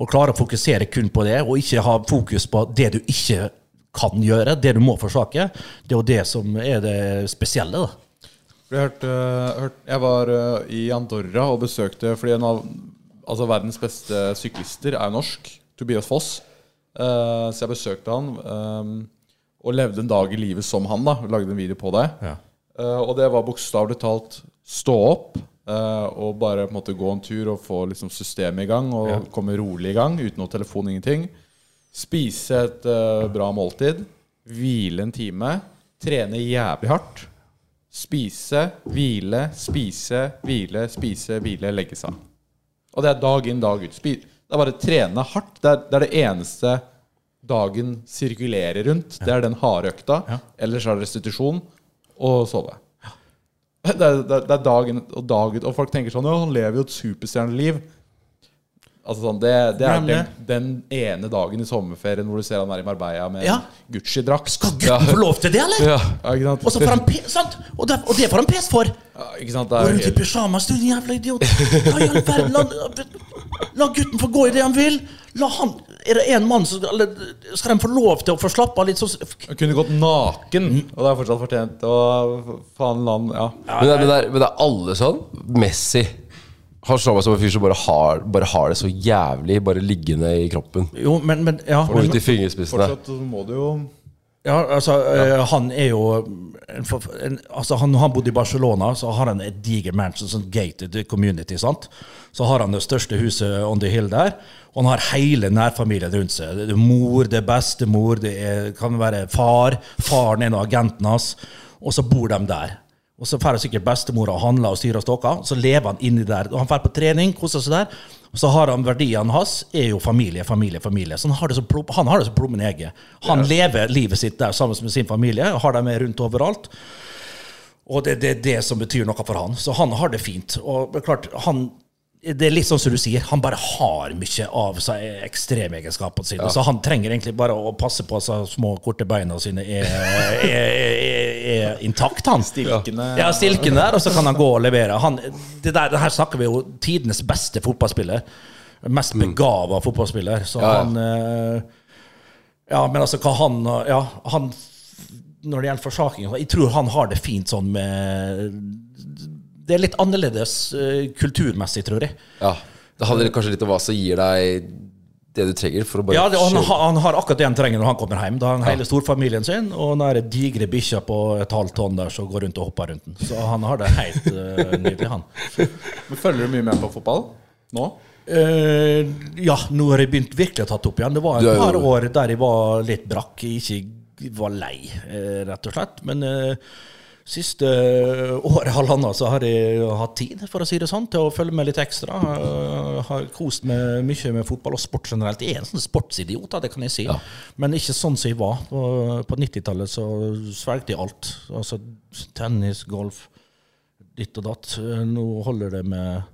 Speaker 4: Og klare å fokusere kun på det, og ikke ha fokus på det du ikke kan gjøre, det du må forsake. Det er jo det som er det spesielle, da.
Speaker 5: Jeg, hørte, hørt, jeg var eh, i Andorra og besøkte Fordi en av altså, verdens beste syklister er norsk. Tobias Foss. Eh, så jeg besøkte han eh, og levde en dag i livet som han. da Lagde en video på det. Eh, og det var bokstavelig talt stå opp eh, og bare på en måte gå en tur og få liksom, systemet i gang. Og komme rolig i gang uten noe telefon, ingenting. Spise et eh, bra måltid. Hvile en time. Trene jævlig hardt. Spise, hvile, spise, hvile, spise, hvile, legge seg. Og det er dag inn, dag ut. Spi- Det er bare trene hardt. Det er det, er det eneste dagen sirkulerer rundt. Det er den harde økta. Ellers er det restitusjon og sove. Det er, det er, det er dag inn og dag ut. Og folk tenker sånn Ja, han lever jo et superstjerneliv. Altså sånn, det, det er
Speaker 4: Glem det.
Speaker 5: den, den ene dagen i sommerferien hvor du ser han er i Marbella med
Speaker 4: Ja.
Speaker 5: Gucci-drakt.
Speaker 4: Skal gutten få lov til det, eller?
Speaker 3: Ja.
Speaker 5: Ja, ikke sant?
Speaker 4: Og så får han P, sant? Og det, og det får han pes for!
Speaker 5: Ja, ikke sant? Det
Speaker 4: Går
Speaker 5: er
Speaker 4: rundt i
Speaker 5: helt-
Speaker 4: pysjamas, du jævla idiot! Hva i all verden? La, la gutten få gå i det han vil! La han, er det én mann som eller, Skal de få lov til å få slappe av litt? sånn
Speaker 5: Han kunne gått naken,
Speaker 4: Mm.
Speaker 5: og det er fortsatt fortjent. Og faen land, ja.
Speaker 3: Men, det er, men, det er, men det er alle sånn. Messi. Han slår meg som en fyr som bare har, bare har det så jævlig bare liggende i kroppen.
Speaker 4: jo, men, men ja,
Speaker 3: Og ut i fingerspissene.
Speaker 5: Fortsatt så må du jo
Speaker 4: ja, altså, eh, Han er jo en, for- en, altså, han, Når han bodde i Barcelona, så har han et diger mansion, sånn gated community. sant? Så har han det største huset on the hill der, og han har hele nærfamilien rundt seg. Det er mor, det er bestemor, det er, kan være far. Faren er en av agenten hans, og så bor de der. Og så drar sikkert bestemora og handler og styrer og stokker. Så lever han inni der. Og han drar på trening, koser seg der. Og så har han verdiene hans, er jo familie, familie, familie. Så han har det som, plom- han har det som plommen i egget. Han lever livet sitt der sammen med sin familie, og har dem med rundt overalt. Og det er det, er det som betyr noe for han. Så han har det fint. Og det er klart, han det er litt sånn som du sier, han bare har mye av seg ekstremegenskapene sine. Så han trenger egentlig bare å passe på at de små, korte beina sine er, er, er, er, er intakt, han.
Speaker 5: Stilkene.
Speaker 4: Ja, stilken der, og så kan han gå og levere. Han, det, der, det her snakker vi jo tidenes beste fotballspiller. Mest begava fotballspiller. Så
Speaker 3: Mm. Ja, ja.
Speaker 4: han eh, Ja, men altså, hva han Ja, han når det gjelder forsaking Jeg tror han har det fint sånn med Det er litt annerledes eh, kulturmessig, tror jeg.
Speaker 3: Ja. Det handler kanskje litt om hva som gir deg det du trenger for å bare
Speaker 4: Ja, det, han,
Speaker 3: kjøre.
Speaker 4: ha- han har akkurat det han trenger når han kommer hjem. Da har han hele storfamilien sin og den der digre bikkja på et halvt tonn der som går rundt og hopper rundt den. Så han har det helt eh, nydelig, han.
Speaker 5: Men Følger du mye med på fotball nå?
Speaker 4: Eh, ja, nå har jeg begynt virkelig å tatt opp igjen. Det var
Speaker 3: Du er
Speaker 4: et
Speaker 3: jo-
Speaker 4: par år der jeg var litt brakk. Jeg ikke var lei, eh, rett og slett. Men eh, siste eh, året, halvannet, så har jeg hatt tid, for å si det sånn, til å følge med litt ekstra. Eh, har kost meg mye med fotball og sport generelt. Jeg er en sånn sportsidiot, da, det kan jeg si. Men ikke sånn som jeg var. På, på 90-tallet så svelgte jeg alt. Altså tennis, golf ditt og datt. Nå holder det med,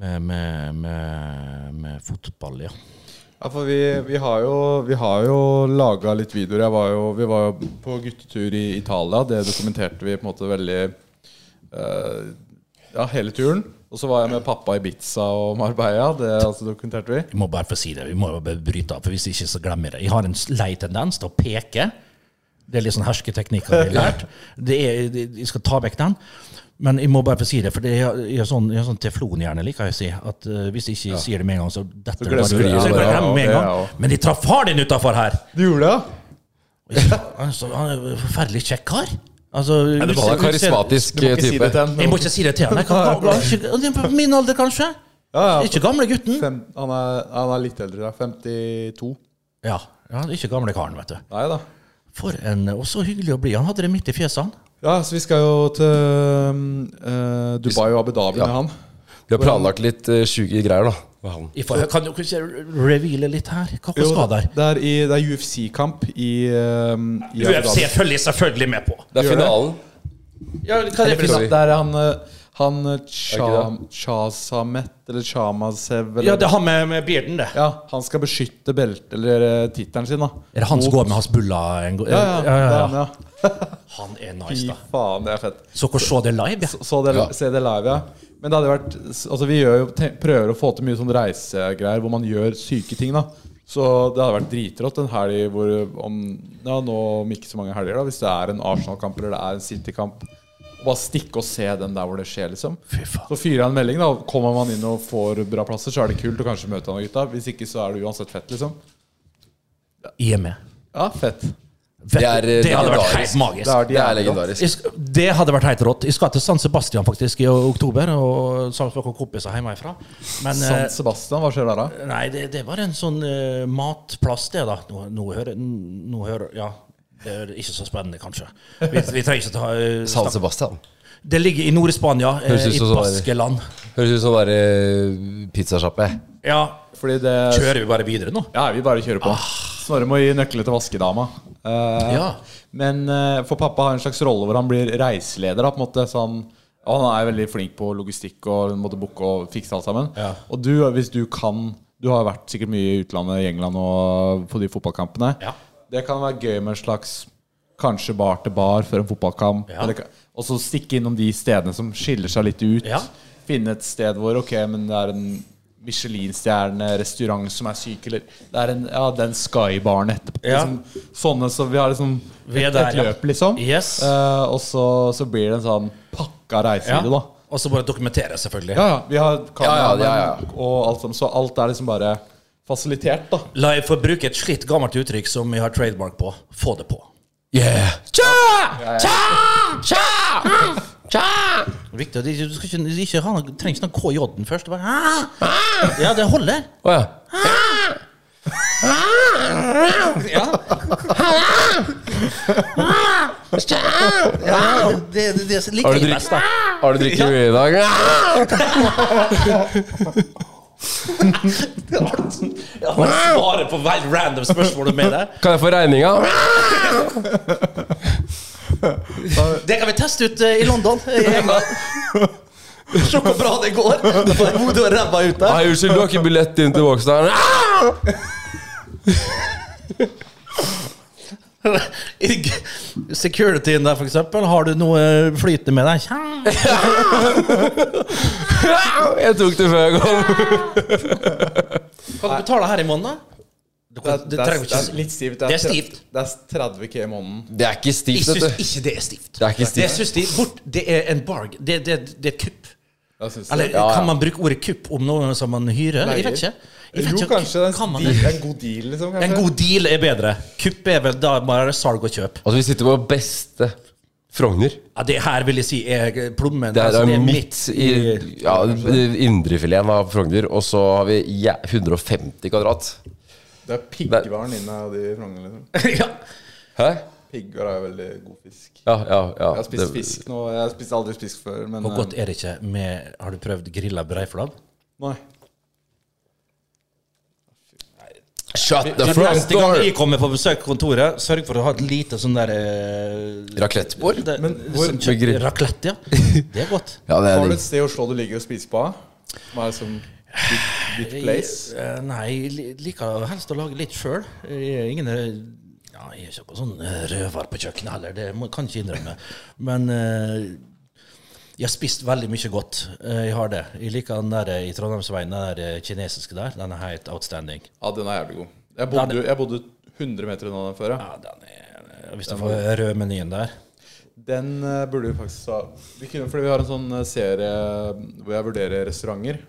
Speaker 4: med, med, med, med fotball, ja.
Speaker 5: Ja, for vi, vi har jo, vi har jo laga litt videoer. Jeg var jo, vi var jo på guttetur i Italia. Det dokumenterte vi på en måte veldig eh, Ja, hele turen. Og så var jeg med pappa i Ibiza og Marbella. Det altså, dokumenterte vi.
Speaker 4: Vi må bare få si det. Vi må jo bare bryte av, for hvis ikke så glemmer jeg det. Jeg har en lei tendens til å peke. Det er litt sånn hersketeknikk jeg har lært. Det er, det- jeg skal ta vekk den. Men jeg må bare få si det, for det er, jeg er sånn, jeg er sånn teflonhjerne, liker jeg å si. At eh, Hvis jeg ikke sier det med en gang, så detter det bare
Speaker 5: glemmer du det.
Speaker 4: ut. Så jeg
Speaker 5: Ja, det er-
Speaker 4: glemmer med en
Speaker 5: ja,
Speaker 4: gang.
Speaker 5: det er-
Speaker 4: Men de traff far din utafor her!
Speaker 5: Du gjorde det?
Speaker 4: Og jeg- Han er så- han er en forferdelig kjekk kar. Altså,
Speaker 3: Det
Speaker 4: hvis-
Speaker 3: var en
Speaker 4: hvis jeg-
Speaker 3: karismatisk
Speaker 5: Du må ikke si det
Speaker 3: type.
Speaker 5: til ham.
Speaker 4: Jeg må ikke si det til han. Jeg kan, kan, kan, på min alder, kanskje?
Speaker 5: Ja, ja.
Speaker 4: Ikke gamle gutten.
Speaker 5: Fem, han, er, han er litt eldre, da. 52.
Speaker 4: Ja, ja, ikke gamle karen, vet du.
Speaker 5: Nei da.
Speaker 4: For en, eh, og så hyggelig å bli. Han hadde det midt i fjesene.
Speaker 5: Ja, så vi skal jo til eh, Dubai og Abu Dhabi med han.
Speaker 3: Vi har planlagt litt eh, sjuke greier, da.
Speaker 4: Jeg får- Kan du ikke reveale litt her? Hva hva
Speaker 5: Jo,
Speaker 4: skal der?
Speaker 5: Det er, i- det er UFC-kamp i, eh, i Abu
Speaker 4: UFC
Speaker 5: Dhabi.
Speaker 4: følger jeg selvfølgelig med på.
Speaker 3: Det er
Speaker 5: Gjør det.
Speaker 3: finalen.
Speaker 4: Ja, hva er det for
Speaker 3: Sorry.
Speaker 4: noe?
Speaker 5: Der er han eh, Han eh,
Speaker 3: Er
Speaker 5: Cha- Chasamet, eller Chamasev eller
Speaker 4: Ja, det er han med, med bearden, det.
Speaker 5: Ja, han skal beskytte beltet, eller eh, tittelen sin, da.
Speaker 4: Er det han som
Speaker 5: Mot-
Speaker 4: går med hasbulla? En go-
Speaker 5: Ja,
Speaker 4: ja,
Speaker 5: ja.
Speaker 4: ja, ja.
Speaker 5: det er han, ja.
Speaker 4: Han er nice,
Speaker 5: Fy
Speaker 4: da.
Speaker 5: faen, det er fett.
Speaker 4: Så dere så det live? Ja.
Speaker 5: Så, så det,
Speaker 3: Ja.
Speaker 5: Se det live, ja. Men det hadde vært Altså, vi gjør jo, te, prøver å få til mye sånn reisegreier hvor man gjør syke ting, da. Så det hadde vært dritrått en helg hvor om, Ja, nå om ikke så mange helger, da. Hvis det er en Arsenal-kamp eller det er en City-kamp. Bare stikke og se den der hvor det skjer, liksom.
Speaker 4: Fy faen.
Speaker 5: Så fyrer jeg en melding, da. Kommer man inn og får bra plasser, så er det kult å kanskje møte han og gutta. Hvis ikke, så er det uansett fett, liksom.
Speaker 4: Jeg er med.
Speaker 5: Ja, fett.
Speaker 4: Vet
Speaker 3: Det er,
Speaker 4: du,
Speaker 3: eh,
Speaker 4: det hadde vært
Speaker 3: legendarisk.
Speaker 4: helt magisk.
Speaker 5: Det er
Speaker 3: Det er
Speaker 5: jævlig rått.
Speaker 3: legendarisk.
Speaker 4: Jeg sk- Det hadde vært helt rått. Jeg skal til San Sebastian faktisk i oktober. Og sammen med noen kompiser hjemmefra. Men eh,
Speaker 5: San Sebastian, hva skjer der, da?
Speaker 4: nei, det, det var en sånn eh, matplass, det, da. Nå, nå, hører, nå hører Ja. Det er ikke så spennende, kanskje. Vi, vi trenger ikke ta eh,
Speaker 3: San
Speaker 4: snakke-
Speaker 3: Sebastian.
Speaker 4: Det ligger i Nord-Spania, eh,
Speaker 3: Høres ut
Speaker 4: i
Speaker 3: som sånn der-
Speaker 4: Baskeland.
Speaker 3: Høres ut som bare pizzasjappe.
Speaker 4: Ja,
Speaker 5: Fordi det
Speaker 4: kjører vi bare videre nå?
Speaker 5: Ja, vi bare kjører på. Snorre må gi nøkkelen til vaskedama. Eh,
Speaker 4: Ah. Ja.
Speaker 5: Men eh, for pappa har en slags rolle hvor han blir reiseleder. Da, på en måte, så han, og han er veldig flink på logistikk og måtte booke og fikse alt sammen.
Speaker 4: Ja.
Speaker 5: Og du, hvis du kan Du har vært sikkert mye i utlandet, i England og på de fotballkampene.
Speaker 4: Ja.
Speaker 5: Det kan være gøy med en slags kanskje bar til bar før en fotballkamp.
Speaker 4: Ja.
Speaker 5: eller ka- og så stikke innom de stedene som skiller seg litt ut.
Speaker 4: Ja.
Speaker 5: Finne et sted hvor ok, men det er en Michelin-stjerne-restaurant som er syk, eller det er en, ja, den Sky-baren etterpå.
Speaker 4: Ja.
Speaker 5: Liksom, sånne som vi har liksom
Speaker 4: Vi
Speaker 5: et,
Speaker 4: er
Speaker 5: et
Speaker 4: der, ja.
Speaker 5: løp, liksom.
Speaker 4: Yes.
Speaker 5: Eh, og så, så blir det en sånn pakka
Speaker 4: Ja.
Speaker 5: reisevideo, da.
Speaker 4: Og så bare dokumentere, selvfølgelig.
Speaker 5: Ja, ja. Vi har kamera
Speaker 3: Ja, ja, ja, ja.
Speaker 5: og alt sånn. Så alt er liksom bare fasilitert, da.
Speaker 4: La jeg få bruke et slitt gammelt uttrykk som jeg har trademark på. Få det på.
Speaker 3: Yeah!
Speaker 4: Det er Viktig, at du, skal ikke, du ikke ha, noe- trenger ikke noen KJ-en først. Bare, «Ah! Ah!» ja, det holder.
Speaker 3: Å ja.
Speaker 4: Ja, det, det, det liker
Speaker 3: Har du
Speaker 4: jeg
Speaker 3: drikket,
Speaker 4: best. da.
Speaker 3: har du drikket mye i dag?
Speaker 4: Ja, han svarer på hver random spørsmål du mener.
Speaker 3: Kan jeg få regninga?
Speaker 4: Det kan vi teste ut eh, i London. I England. Se hvor bra det går. Da får jeg hodet og ræva ut der.
Speaker 3: Nei, unnskyld, du har ikke billett inn til Vågstad?
Speaker 4: I g- Securityen der, for eksempel. Har du noe eh, flytende med deg? Tja.
Speaker 3: Jeg tok det før jeg kom.
Speaker 4: Kan du betale her i måneden, da? Du kan, det trenger
Speaker 5: det er
Speaker 4: ikke
Speaker 5: litt stivt.
Speaker 4: Det er stivt.
Speaker 5: Det er 30 K i måneden.
Speaker 3: Det er ikke
Speaker 4: Jeg
Speaker 3: stivt,
Speaker 4: syns
Speaker 3: vet du.
Speaker 4: ikke det er stivt.
Speaker 3: Det er ikke stivt.
Speaker 4: Det syns de bort, Det er en barg. Det, det, det er et kupp.
Speaker 5: Jeg syns det.
Speaker 4: Eller
Speaker 3: Ja, ja.
Speaker 4: kan man bruke ordet kupp om noe som man hyrer? Jeg vet ikke. Jeg vet
Speaker 5: Jo,
Speaker 4: ikke.
Speaker 5: kanskje det er
Speaker 4: Kan
Speaker 5: en,
Speaker 4: man
Speaker 5: deal,
Speaker 4: det?
Speaker 5: en god deal, liksom.
Speaker 4: En
Speaker 5: Kanskje.
Speaker 4: god deal er bedre. Kupp er vel da bare salg og kjøp.
Speaker 3: Altså, vi sitter på beste Frogner.
Speaker 4: Ja, det her vil jeg si er plommen.
Speaker 3: Det er,
Speaker 4: altså,
Speaker 3: midt i ja, indrefileten av Frogner, og så har vi ja, 150 kvadrat.
Speaker 5: Det er piggvaren inne av de frongene. Liksom.
Speaker 4: ja.
Speaker 3: Hæ?
Speaker 5: Piggvar er jo veldig god fisk.
Speaker 3: Ja, ja, ja.
Speaker 5: Jeg har spist
Speaker 3: Det-
Speaker 5: fisk nå. Jeg har spist aldri fisk før, men eh,
Speaker 4: Hvor godt er det ikke med Har du prøvd grilla breiflabb?
Speaker 5: eh, Nei.
Speaker 3: Shut the
Speaker 4: Men
Speaker 3: front
Speaker 4: Neste gang
Speaker 3: door!
Speaker 4: jeg kommer på besøk på kontoret, sørg for å ha et lite sånn der eh,
Speaker 3: Raclettebord?
Speaker 4: det-
Speaker 5: Men
Speaker 4: sånn
Speaker 5: hvor-
Speaker 4: kjøtt- Raclette, ja. Det er godt.
Speaker 3: Ja, det er
Speaker 5: Har du
Speaker 3: digg.
Speaker 5: et sted i Oslo du ligger og spiser på? Hva er det som ditt, ditt place?
Speaker 4: Jeg, eh, nei, jeg li- liker helst å lage litt sjøl. Jeg er ingen eh, ja, Jeg er ikke noen sånn eh, røver på kjøkkenet heller, det må, kan jeg ikke innrømme. Men eh, jeg har spist veldig mye godt. Eh, jeg har det. Jeg liker den der eh, i Trondheimsveien, den der eh, kinesiske der. Den er helt outstanding.
Speaker 5: Ja, den er jævlig god. Jeg bodde, jeg bodde 100 meter unna den før. Ja.
Speaker 4: Ja, den er, eh, hvis du får rød menyen der.
Speaker 5: Den eh, burde vi faktisk ha vi kunne, Fordi vi har en sånn eh, serie hvor jeg vurderer restauranter.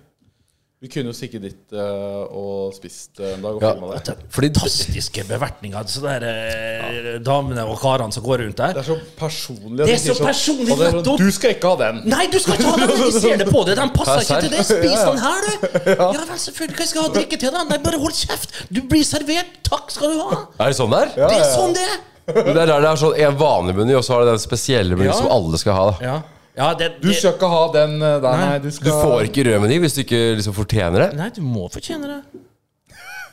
Speaker 5: Vi kunne jo stikket dit eh, og spist eh, en dag og
Speaker 3: Ja.
Speaker 5: filma det.
Speaker 3: Fordi
Speaker 4: fantastiske bevertninger. Så der, eh, damene og karene som går rundt
Speaker 5: Det
Speaker 4: der.
Speaker 5: er så personlig. at
Speaker 4: Det er
Speaker 5: de sier
Speaker 4: så personlig,
Speaker 5: og det er sånn,
Speaker 4: nettopp!
Speaker 5: Du skal ikke ha den!
Speaker 4: Nei, du skal ikke ha den! Jeg ser det på deg! Den passer ikke
Speaker 3: Her,
Speaker 4: til deg! Spis den her, du! Ja vel, selvfølgelig. Hva skal jeg ha å drikke til den? Nei, bare hold kjeft! Du blir servert! Takk skal du ha!
Speaker 3: Er det sånn der?
Speaker 4: Det er sånn det er!
Speaker 3: Det er der det er sånn en vanlig meny, og så har det den spesielle menyen
Speaker 4: Ja.
Speaker 3: som alle skal ha. Da.
Speaker 4: Ja, ja det,
Speaker 5: Du skal ikke ha den eh, der, nei. du
Speaker 3: Du
Speaker 5: skal
Speaker 3: får ikke rød meny hvis du ikke liksom fortjener det.
Speaker 4: Nei, du må fortjene det.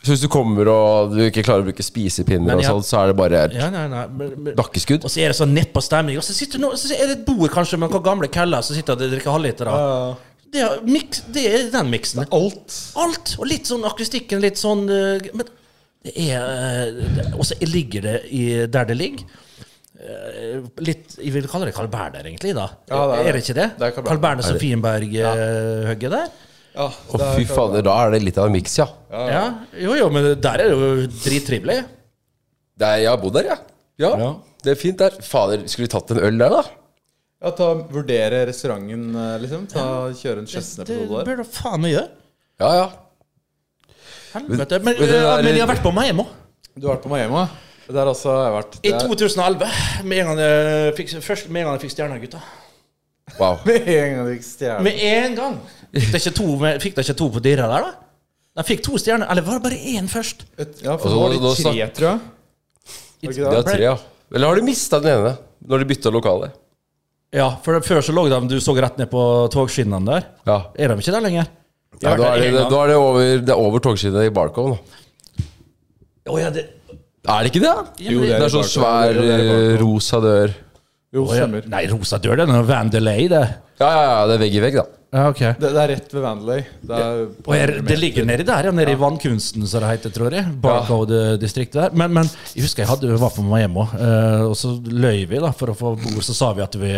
Speaker 3: Så hvis du kommer og du ikke klarer å bruke
Speaker 4: Men
Speaker 3: spisepinner, og
Speaker 4: jeg-
Speaker 3: sånn, så er det bare
Speaker 4: Ja, nei, nei. men- men-
Speaker 3: dakkeskudd.
Speaker 4: Og så er det sånn nedpå stemning. Og så sitter nå, så er det et bord kanskje med noen gamle keller som sitter og drikker halvliter. av. Det, er mix- det er den miksen.
Speaker 5: alt.
Speaker 4: Alt! Og litt sånn akustikken, litt sånn eh, Men det er eh, det- Og så ligger det i, der det ligger. Eh, Litt Jeg vil kalle det Carl Berner, egentlig. da
Speaker 5: Ja, det er det.
Speaker 4: Er det ikke det?
Speaker 5: Det er Carl Berner.
Speaker 4: Carl Berner-Sofienberg-hugget der?
Speaker 5: Ja,
Speaker 3: Å,
Speaker 5: det er-
Speaker 3: fy fader, da er det litt av en miks, ja.
Speaker 4: Ja, Jo, jo, men der er det jo drittrivelig.
Speaker 3: Det er, jeg har bodd der, ja. ja.
Speaker 4: Ja.
Speaker 3: Det er fint der. Fader, skulle vi tatt en øl der, da?
Speaker 5: Ja, ta, vurdere restauranten, eh, liksom. Ta, kjøre en
Speaker 4: Det
Speaker 5: Chesne-episode der.
Speaker 4: bør du faen meg gjøre.
Speaker 3: Ja, ja.
Speaker 4: Helvete. Men,
Speaker 3: Men det
Speaker 4: eh,
Speaker 3: der-
Speaker 4: men jeg har vært på Miami også.
Speaker 5: Du har vært på Miami? da? Det er altså, jeg har vært
Speaker 4: I
Speaker 5: det er-
Speaker 4: 2011. Med en gang jeg fikk, først med en gang jeg fikk Stjerna-gutta.
Speaker 3: Wow.
Speaker 5: Med en gang du ikke stjeler.
Speaker 4: Med en gang! Fikk de ikke to, fikk de ikke to på Dirra der, da? De fikk to stjerner. Eller var det bare én først?
Speaker 5: Ja, for
Speaker 3: Altså,
Speaker 5: nå var det
Speaker 3: nå
Speaker 5: tre,
Speaker 3: snak-
Speaker 5: tror jeg. Var
Speaker 4: It's-
Speaker 5: det ikke
Speaker 3: Det
Speaker 5: det?
Speaker 3: er tre, ja. Eller har du mista den ene når de bytta lokale?
Speaker 4: Ja, for det- før så lå de Du så rett ned på togskinnene der.
Speaker 3: Ja.
Speaker 4: Er de ikke der lenger?
Speaker 3: Nei, da er det,
Speaker 4: en gang.
Speaker 3: da er det over, det er over togskinnet i Barcom nå.
Speaker 4: Å ja, det
Speaker 3: Er det ikke det? da?
Speaker 4: Jo, det
Speaker 3: det
Speaker 4: er
Speaker 3: er,
Speaker 5: i
Speaker 3: sånn
Speaker 5: Barcom.
Speaker 3: svær
Speaker 5: Det er i Barcom.
Speaker 3: eh, rosa dør.
Speaker 5: Jo,
Speaker 4: å ja.
Speaker 5: stemmer.
Speaker 4: Nei, rosa dør, det er noe Van Delay, det.
Speaker 3: Ja, ja, ja, det er vegg i vegg, da.
Speaker 4: Ja, ok.
Speaker 5: Det, det er rett ved Vandelay. Det er
Speaker 4: Og er, det ligger nedi der, ja. Nede i Vannkunsten, som det heter, tror jeg. Barcode-distriktet der. Men, men jeg husker jeg hadde, var på Miami, eh, og så løy vi da, for å få bord. Så sa vi at vi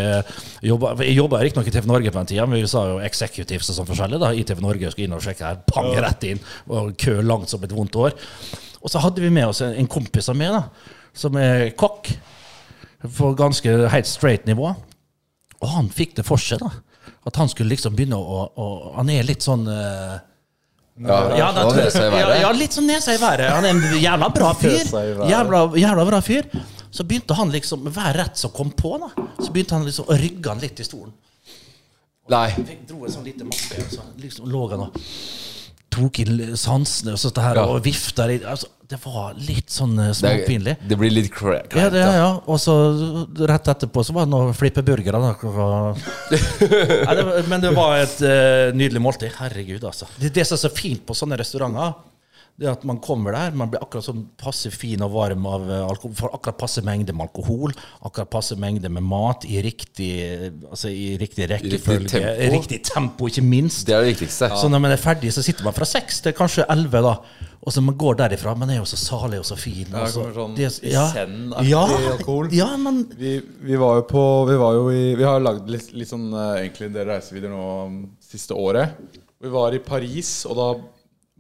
Speaker 4: jobba Jeg jobba riktignok i TV Norge på den tida, men vi sa jo executives og sånn forskjellig da, i TV Norge. og Skulle inn og sjekke her. Pang, rett inn. Og kø langt som et vondt år. Og så hadde vi med oss en, en kompis av meg, da, som er kokk. På ganske helt straight nivå. Og han fikk det for seg, da. At han skulle liksom begynne å, å Han er litt sånn eh,
Speaker 3: Ja,
Speaker 4: ja, da
Speaker 3: da
Speaker 4: tror jeg-
Speaker 3: leser jeg
Speaker 4: ja,
Speaker 3: verre.
Speaker 4: ja, litt sånn nesa i været. Han er en jævla bra fyr.
Speaker 5: Nesa i været.
Speaker 4: Jævla, jævla bra fyr. Så begynte han liksom, hver rett som kom på, da, så begynte han liksom å rygge han litt i stolen.
Speaker 3: Nei.
Speaker 4: Fikk, dro en sånn liten maske, og så liksom lå han og tok inn sansene og sånt her,
Speaker 3: Ja.
Speaker 4: og vifta litt. Altså, det var litt sånn
Speaker 3: Det,
Speaker 4: eh,
Speaker 3: er-
Speaker 4: småpinlig.
Speaker 3: det blir litt crack.
Speaker 4: Ja, det, ja, ja. Og så rett etterpå så var det noe flippeburgere. Da. klokka- Nei, det var- men det var et eh, nydelig måltid. Herregud, altså. Det, det som er så fint på sånne restauranter, det er at man kommer der, man blir akkurat sånn passe fin og varm av eh, alkohol, får akkurat passe mengde med alkohol, akkurat passe mengde med mat i riktig, altså, i riktig rekkefølge, i
Speaker 3: tempo.
Speaker 4: riktig, tempo, ikke minst.
Speaker 3: Det er det viktigste.
Speaker 4: Så når man er ferdig, så sitter man fra seks til kanskje elleve, da. Og så man går derifra. Man er jo så salig og så fin.
Speaker 5: Ja,
Speaker 4: og
Speaker 5: det
Speaker 4: så-
Speaker 5: kommer sånn
Speaker 4: det er-
Speaker 5: i zen-aktig
Speaker 4: ja,
Speaker 5: alkohol.
Speaker 4: Ja, men
Speaker 5: Vi, vi var jo på Vi, var jo i, vi har lagd litt, litt sånn eh, egentlig en del reisevideoer nå um, siste året. Vi var i Paris, og da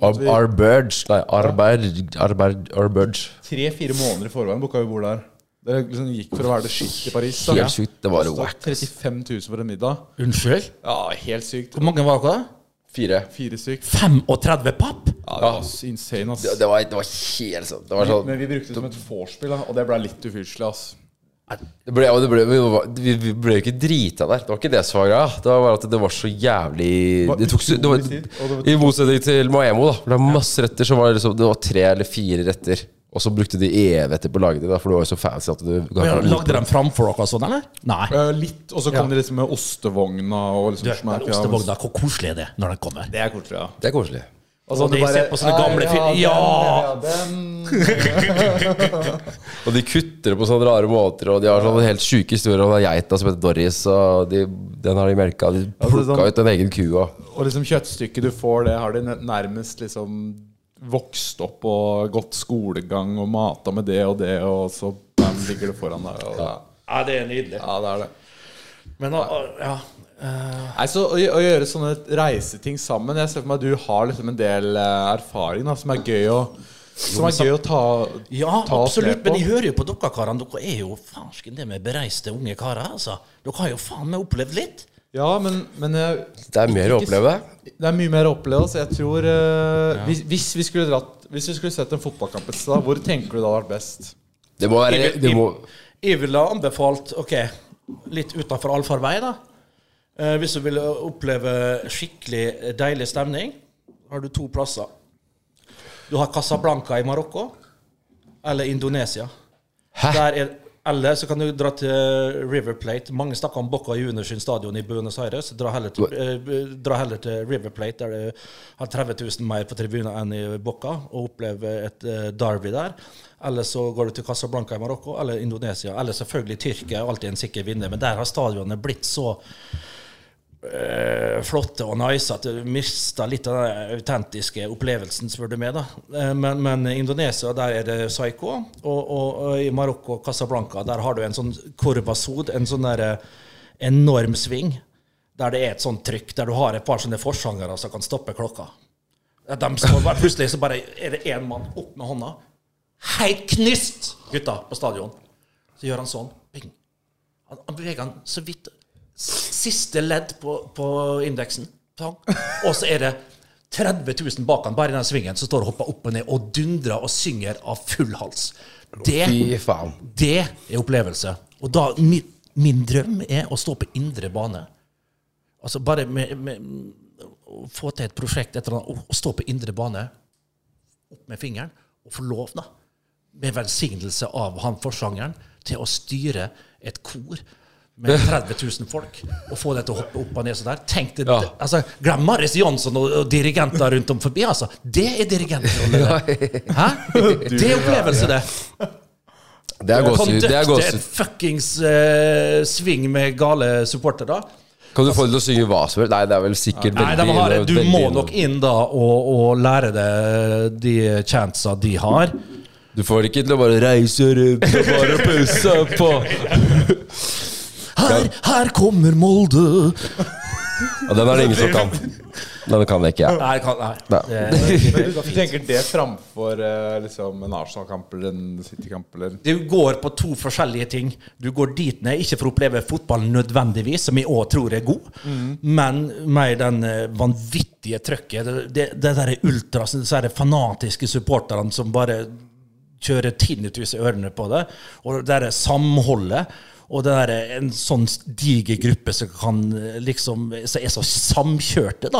Speaker 3: Ar- Arberge Nei, Arberge Arberge, Arberge.
Speaker 5: tre-fire måneder i forveien booka vi bord der. Det liksom gikk for å være det skitt i Paris. da.
Speaker 3: Helt sykt. Det var
Speaker 5: Kostet
Speaker 3: wack.
Speaker 5: 35 000 for en middag.
Speaker 4: Unnskyld?
Speaker 5: Ja, helt sykt.
Speaker 4: Hvor mange var dere?
Speaker 3: Fire.
Speaker 5: Fire stykker.
Speaker 4: 35 papp?
Speaker 5: Ja, det var s- insane, ass.
Speaker 3: Det, det, var, det var helt sånn Det var sånn
Speaker 5: Men vi brukte det som et vorspiel, da, og det ble litt ufyselig, ass.
Speaker 3: det ble, og det ble, vi, var- vi, vi ble jo ikke drita der. Det var ikke det som var greia. Det var bare at det var så jævlig
Speaker 5: var
Speaker 3: Det tok så det var,
Speaker 5: utrolig tid, og det var-
Speaker 3: I motsetning til Maemo, da. Det var masse retter som var liksom Det var tre eller fire retter. Og så brukte de evigheter på å lage det, da, for det var jo så fancy at du
Speaker 4: Ja, lagde de framfor dere og sånn, eller? Nei.
Speaker 5: Eh, Litt, og så kom de liksom med ostevogna og liksom
Speaker 4: Du, den
Speaker 5: smaker av-
Speaker 4: ostevogna, hvor koselig er det når den kommer?
Speaker 5: Det er koselig, ja.
Speaker 3: Det er koselig.
Speaker 5: Altså,
Speaker 4: Og de ser på sånne gamle film- Ja!
Speaker 3: Og de kutter det på sånne rare måter, og de har sånne helt sjuke historier om den geita som heter Doris, og de, den har de melka. De
Speaker 5: Altså,
Speaker 3: plukka
Speaker 5: sånn-
Speaker 3: ut en egen ku og
Speaker 5: Og liksom kjøttstykket du får, det har de n- nærmest liksom vokst opp og gått skolegang og mata med det og det, og så bam, ligger det foran deg. Og, ja.
Speaker 4: Ja, det er nydelig.
Speaker 5: ja, det er det.
Speaker 4: Men ah, ja.
Speaker 5: Nei, så å, å gjøre sånne reiseting sammen Jeg ser for meg at du har liksom en del eh, erfaring da, som er gøy å, som er gøy å ta,
Speaker 4: Ja,
Speaker 5: ta oss med
Speaker 4: absolutt.
Speaker 5: på.
Speaker 4: Men jeg hører jo på dere karene. Dere er jo farsken det med bereiste unge karer. altså. Dere har jo faen meg opplevd litt.
Speaker 5: Ja, men, men jeg,
Speaker 3: Det er mer å
Speaker 5: Ikke s-
Speaker 3: oppleve.
Speaker 5: det er mye mer å oppleve. Så jeg tror eh, hvis, hvis, vi skulle dratt, hvis vi skulle sett en fotballkamp et sted, hvor tenker du det hadde vært best?
Speaker 3: Det må være
Speaker 4: Jeg-
Speaker 3: det må,
Speaker 4: Jeg ville ha anbefalt ok, litt utenfor allfarvei, da. Eh, hvis du ville oppleve skikkelig deilig stemning, har du to plasser. Du har Casablanca i Marokko eller Indonesia. Der er, eller så kan du dra til River Plate. Mange snakker om Boca Juniors sin stadion i Buenos Aires. Dra heller til, eh, dra heller til River Plate, der det har 30 000 mer på tribunen enn i Boca, og oppleve et eh, derby der. Eller så går du til Casablanca i Marokko, eller Indonesia. Eller selvfølgelig Tyrkia, er alltid en sikker vinner. Men der har stadionene blitt så eh, flotte og nice at du mister litt av den autentiske opplevelsen, spør du meg. da. Eh, Men, men i Indonesia, der er det psycho. Og, og, og i Marokko, Casablanca, der har du en sånn corvasod, en sånn der eh, enorm sving, der det er et sånt trykk, der du har et par sånne forsangere som kan stoppe klokka. Ja, De står bare, plutselig så bare er det én mann opp med hånda. Helt knust, gutta, på stadion. Så gjør han sånn. Ping. Han, han beveger han så vidt s- Siste ledd på, på indeksen. Pang. Og så er det 30 000 bak han, bare i den svingen, som står og hopper opp og ned og dundrer og synger av full hals. Det,
Speaker 3: Fy faen.
Speaker 4: det er opplevelse. Og da min, min drøm er å stå på indre bane. Altså bare med, med, å få til et prosjekt, et eller annet, å- å stå på indre bane opp med fingeren og få lov, da, med velsignelse av han forsangeren, til å styre et kor med 30 000 folk og få det til å hoppe opp og ned sånn der. Tenk det,
Speaker 3: Ja.
Speaker 4: altså, Glem Marius Jansson og, og dirigenter rundt om forbi, altså. Det er dirigentrolle, det. Hæ? Det er opplevelse, det.
Speaker 3: Det
Speaker 5: Sånn
Speaker 3: er gåsehud. Det er
Speaker 4: Conduct et
Speaker 3: gåsehud.
Speaker 4: fuckings eh, sving med gale supportere.
Speaker 3: Kan du få dem til å synge hva som helst? Nei, det er vel sikkert
Speaker 4: Nei, de
Speaker 3: veldig
Speaker 4: har,
Speaker 3: inno-
Speaker 4: du
Speaker 3: veldig
Speaker 4: må
Speaker 3: inno-
Speaker 4: nok inn da og, og lære det de chantsa de har.
Speaker 3: Du får det ikke til å bare reise rundt og bare pusse på.
Speaker 4: Her, her kommer Molde!
Speaker 3: Ja, den er det ingen som kan. Den kan ikke jeg.
Speaker 4: Nei, kan, nei.
Speaker 3: Nei.
Speaker 4: Det,
Speaker 5: Men du tenker det framfor eh, liksom, en Arsenal-kamp eller en City-kamp eller
Speaker 4: du går på to forskjellige ting. Du går dit ned, ikke for å oppleve fotballen nødvendigvis, som jeg òg tror er god, men mer den eh, vanvittige trøkket. Det, det, det derre ultras, disse her fanatiske supporterne som bare kjører tinnitus i ørene på det, og det derre samholdet. Og det der, er en sånn diger gruppe som kan eh, liksom Som er så samkjørte, da.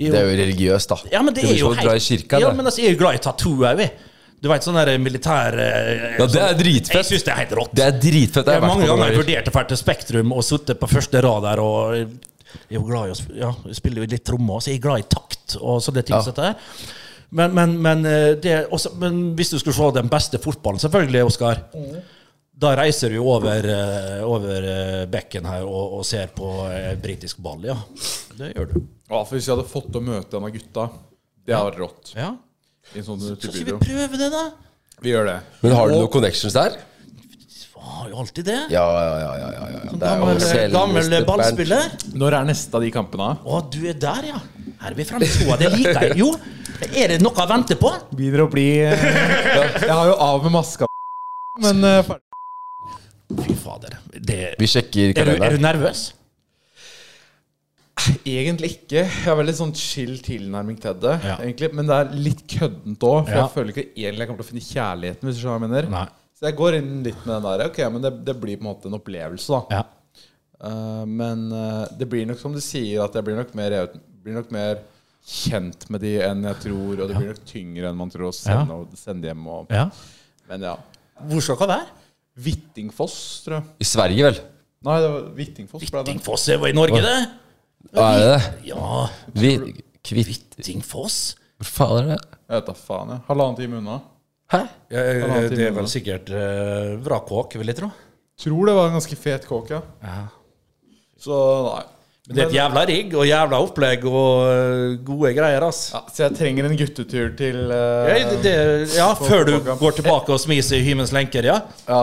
Speaker 4: I-
Speaker 3: Det er jo religiøst, da.
Speaker 4: Ja, men det,
Speaker 3: blir
Speaker 4: er jo
Speaker 3: som å dra i kirka,
Speaker 4: ja,
Speaker 3: det.
Speaker 4: men altså, jeg er jo glad i tattooer, vi. Du veit sånn der militær eh,
Speaker 3: Ja, det er
Speaker 4: sånn-
Speaker 3: dritfett.
Speaker 4: Jeg syns det er helt rått.
Speaker 3: Det er dritfett.
Speaker 4: Jeg
Speaker 3: Jeg har
Speaker 4: har
Speaker 3: vært
Speaker 4: mange
Speaker 3: på noen
Speaker 4: ganger
Speaker 3: ganger.
Speaker 4: vurdert å dra til Spektrum og sitte på første rad der og jeg er jo glad i å sp- ja, jeg spiller jo litt tromme, så jeg er glad i takt og sånne ting.
Speaker 3: Ja.
Speaker 4: som dette her. Men, men, men, eh, det, er også, men hvis du skulle se den beste fotballen, selvfølgelig, Oskar. Da reiser du jo over, eh, over eh, bekken her og, og ser på eh, britisk ball, ja. Det gjør du.
Speaker 5: Ja, for Hvis jeg hadde fått å møte en av gutta Det hadde vært rått.
Speaker 4: Ja.
Speaker 5: I en sånn
Speaker 4: Så
Speaker 5: type
Speaker 4: skal vi
Speaker 5: video.
Speaker 4: prøve det, da.
Speaker 5: Vi gjør det.
Speaker 3: Men har du noen connections der?
Speaker 4: Har jo alltid det.
Speaker 3: Ja, ja, ja. ja, ja, ja. Det er jo
Speaker 4: Gammel,
Speaker 3: selveste
Speaker 4: gammel
Speaker 3: Bernt.
Speaker 4: ballspiller.
Speaker 5: Når er neste av de kampene?
Speaker 4: Å, du er der, ja. Her er vi fremme i skoa. Det liker jeg. Jo, er det noe å vente på?
Speaker 5: Begynner å bli eh, Jeg har jo av med maska, men eh, ferdig.
Speaker 4: Fy fader. Det,
Speaker 3: Vi sjekker
Speaker 4: er, du, er
Speaker 3: kalenderen.
Speaker 4: du nervøs?
Speaker 5: Egentlig ikke. Jeg har veldig sånn chill tilnærming til det.
Speaker 4: Ja.
Speaker 5: egentlig Men det er litt køddent òg, for
Speaker 4: Ja.
Speaker 5: jeg føler ikke egentlig jeg kommer til å finne kjærligheten. Hvis du skjønner hva jeg mener
Speaker 4: Nei.
Speaker 5: Så jeg går inn litt med den der. Ok, men det, det blir på en måte en opplevelse, da.
Speaker 4: Ja.
Speaker 5: Eh, men eh, det blir nok som du sier, at jeg blir nok mer, jeg blir nok mer kjent med de enn jeg tror, og det blir nok tyngre enn man tror å sende, og sende hjem. Og,
Speaker 4: ja.
Speaker 5: Men ja.
Speaker 4: Hvor skal dere være?
Speaker 5: Hvittingfoss, tror jeg.
Speaker 3: I Sverige, vel?
Speaker 5: Nei, det var Hvittingfoss. ble det.
Speaker 4: Hvittingfoss er jo i Norge, det.
Speaker 3: Hva er det det?
Speaker 4: Ja,
Speaker 3: Vi, kvitt
Speaker 4: Hvittingfoss?
Speaker 3: Hvor faen er det?
Speaker 5: Jeg vet da faen, jeg. Halvannen time unna.
Speaker 3: Hæ?
Speaker 4: Ja, ja, ja, det
Speaker 5: Halvannen
Speaker 4: er
Speaker 5: time
Speaker 4: vel
Speaker 5: unna.
Speaker 4: sikkert uh, vrakhåk, vil jeg tro.
Speaker 5: Tror det var en ganske fet kåk, ja. Så nei.
Speaker 4: Men det er et jævla rigg og jævla opplegg og eh, gode greier, ass.
Speaker 5: ja, så jeg trenger en guttetur til eh,
Speaker 4: Ja, det, det, ja før du går tilbake og smiser i hymens lenker, ja.
Speaker 5: ja.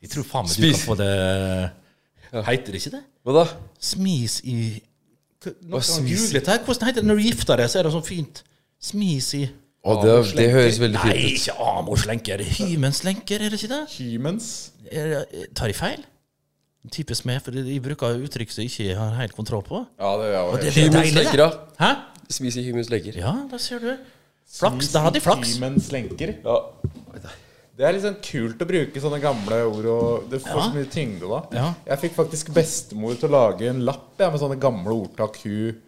Speaker 4: Jeg tror faen meg du
Speaker 3: Spis.
Speaker 4: kan få det Heiter det ikke det?
Speaker 3: Hva da?
Speaker 4: Smis i Hva- Nå
Speaker 3: Hva
Speaker 4: kan
Speaker 3: smis i?
Speaker 4: jeg google dette her. Hvordan heter det når du gifter deg, så er det sånn fint. Smis i
Speaker 3: Å, det, det høres veldig
Speaker 4: Nei,
Speaker 3: fint ut.
Speaker 4: ikke amorslenker. Hymenslenker, er det ikke det?
Speaker 5: Hymens.
Speaker 4: Er, eh, tar jeg feil? Typisk meg, for jeg bruker uttrykk som jeg ikke har helt kontroll på.
Speaker 5: Ja, det er jo
Speaker 4: Det,
Speaker 5: helt
Speaker 4: det er
Speaker 3: Hymens
Speaker 4: deilig,
Speaker 3: leker,
Speaker 4: det.
Speaker 3: da.
Speaker 4: Hæ?
Speaker 3: Spis i hymens leker.
Speaker 4: Ja, der ser du. Flaks. Der hadde jeg flaks.
Speaker 5: Hymens lenker. Det er litt sånn kult å bruke sånne gamle ord. Og det får så mye tyngde da.
Speaker 4: Ja.
Speaker 5: Jeg fikk faktisk bestemor til å lage en lapp jeg, med sånne gamle ordtak hun,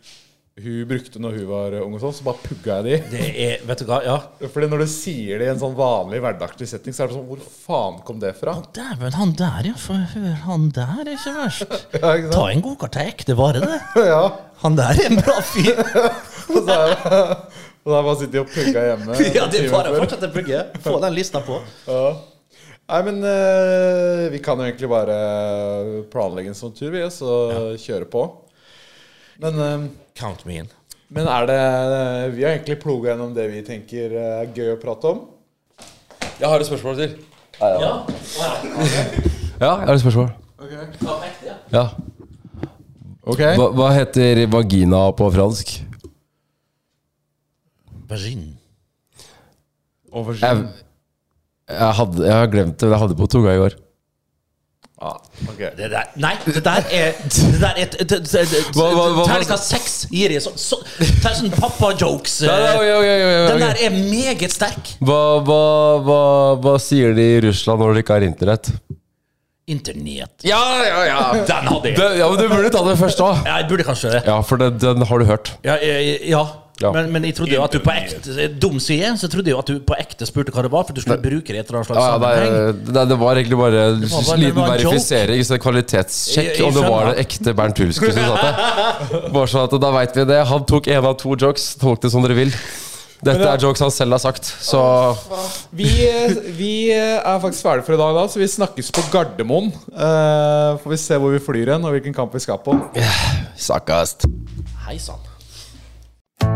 Speaker 5: hun brukte når hun var ung. og sånn Så bare pugga jeg de.
Speaker 4: Det er Vet du hva, ja.
Speaker 5: Fordi når du sier det i en sånn vanlig hverdagslig setting, så er det sånn Hvor faen kom det fra?
Speaker 4: Dæven, han der, ja. For hør, han der er ikke verst.
Speaker 5: Ja, ikke
Speaker 4: Ta
Speaker 5: sant?
Speaker 4: en gokart til ekte vare, det.
Speaker 5: Ja.
Speaker 4: Han der er en bra fyr.
Speaker 5: Og så er det og da bare sitter de og pugger hjemme.
Speaker 4: Ja, det er
Speaker 5: timen
Speaker 4: bare å
Speaker 5: før.
Speaker 4: fortsette å bygge. Få den lista på.
Speaker 5: Ja. Nei, men eh, vi kan jo egentlig bare planlegge en sånn tur, vi, og så kjøre på. Men, eh,
Speaker 4: Count me in.
Speaker 5: men er det eh, Vi har egentlig ploga gjennom det vi tenker eh, er gøy å prate om.
Speaker 3: Jeg har et spørsmål til.
Speaker 4: Ja.
Speaker 3: Ja, jeg har et spørsmål. Ja.
Speaker 5: Ok
Speaker 3: Hva, hva heter vagina på fransk?
Speaker 4: Vagin.
Speaker 3: Jeg, jeg, hadde, jeg har glemt det, men jeg hadde på tunga i går.
Speaker 4: Det der, nei, det der er Det der er t- t- t- t-
Speaker 3: Hva- hva- hva-
Speaker 4: Terningkast seks gir jeg sånn så, Det er sånn pappa-jokes.
Speaker 3: Nei, nei, oi,
Speaker 4: eh.
Speaker 3: oi, oi, oi,
Speaker 4: Den
Speaker 3: oi.
Speaker 4: der er meget sterk.
Speaker 3: Hva, hva, hva, hva sier de i Russland når de ikke har internett?
Speaker 4: Internett.
Speaker 3: Ja, ja, ja.
Speaker 4: Den hadde jeg.
Speaker 3: Det, ja men du burde ta det først òg.
Speaker 4: Ja, Jeg burde kanskje det.
Speaker 3: Ja, for den, den har du hørt.
Speaker 4: Ja, eh, ja.
Speaker 3: Ja.
Speaker 4: Men, men jeg trodde jo at du på ekte Dum sier jeg, så trodde jeg jo at du på ekte spurte hva det var, for du skulle bruke det i et eller annet slags
Speaker 3: Ja, ja,
Speaker 4: sammenheng.
Speaker 3: det, det, det var egentlig bare en
Speaker 4: var bare- det
Speaker 3: liten
Speaker 4: var en
Speaker 3: verifisering, så kvalitetssjekk,
Speaker 4: Jeg- jeg
Speaker 3: om det var
Speaker 4: skjønner.
Speaker 3: det ekte Bernt Hulsker som satt der. Bare sånn at da vet vi det. Han tok en av to jokes. Tolk det som dere vil. Dette er jokes han selv har sagt, så
Speaker 5: Vi, eh, vi eh, er faktisk ferdige for i dag, da, så vi snakkes på Gardermoen. Eh, får vi se hvor vi flyr hen, og hvilken kamp vi skal på.
Speaker 3: Sakkast.
Speaker 4: Hei sann.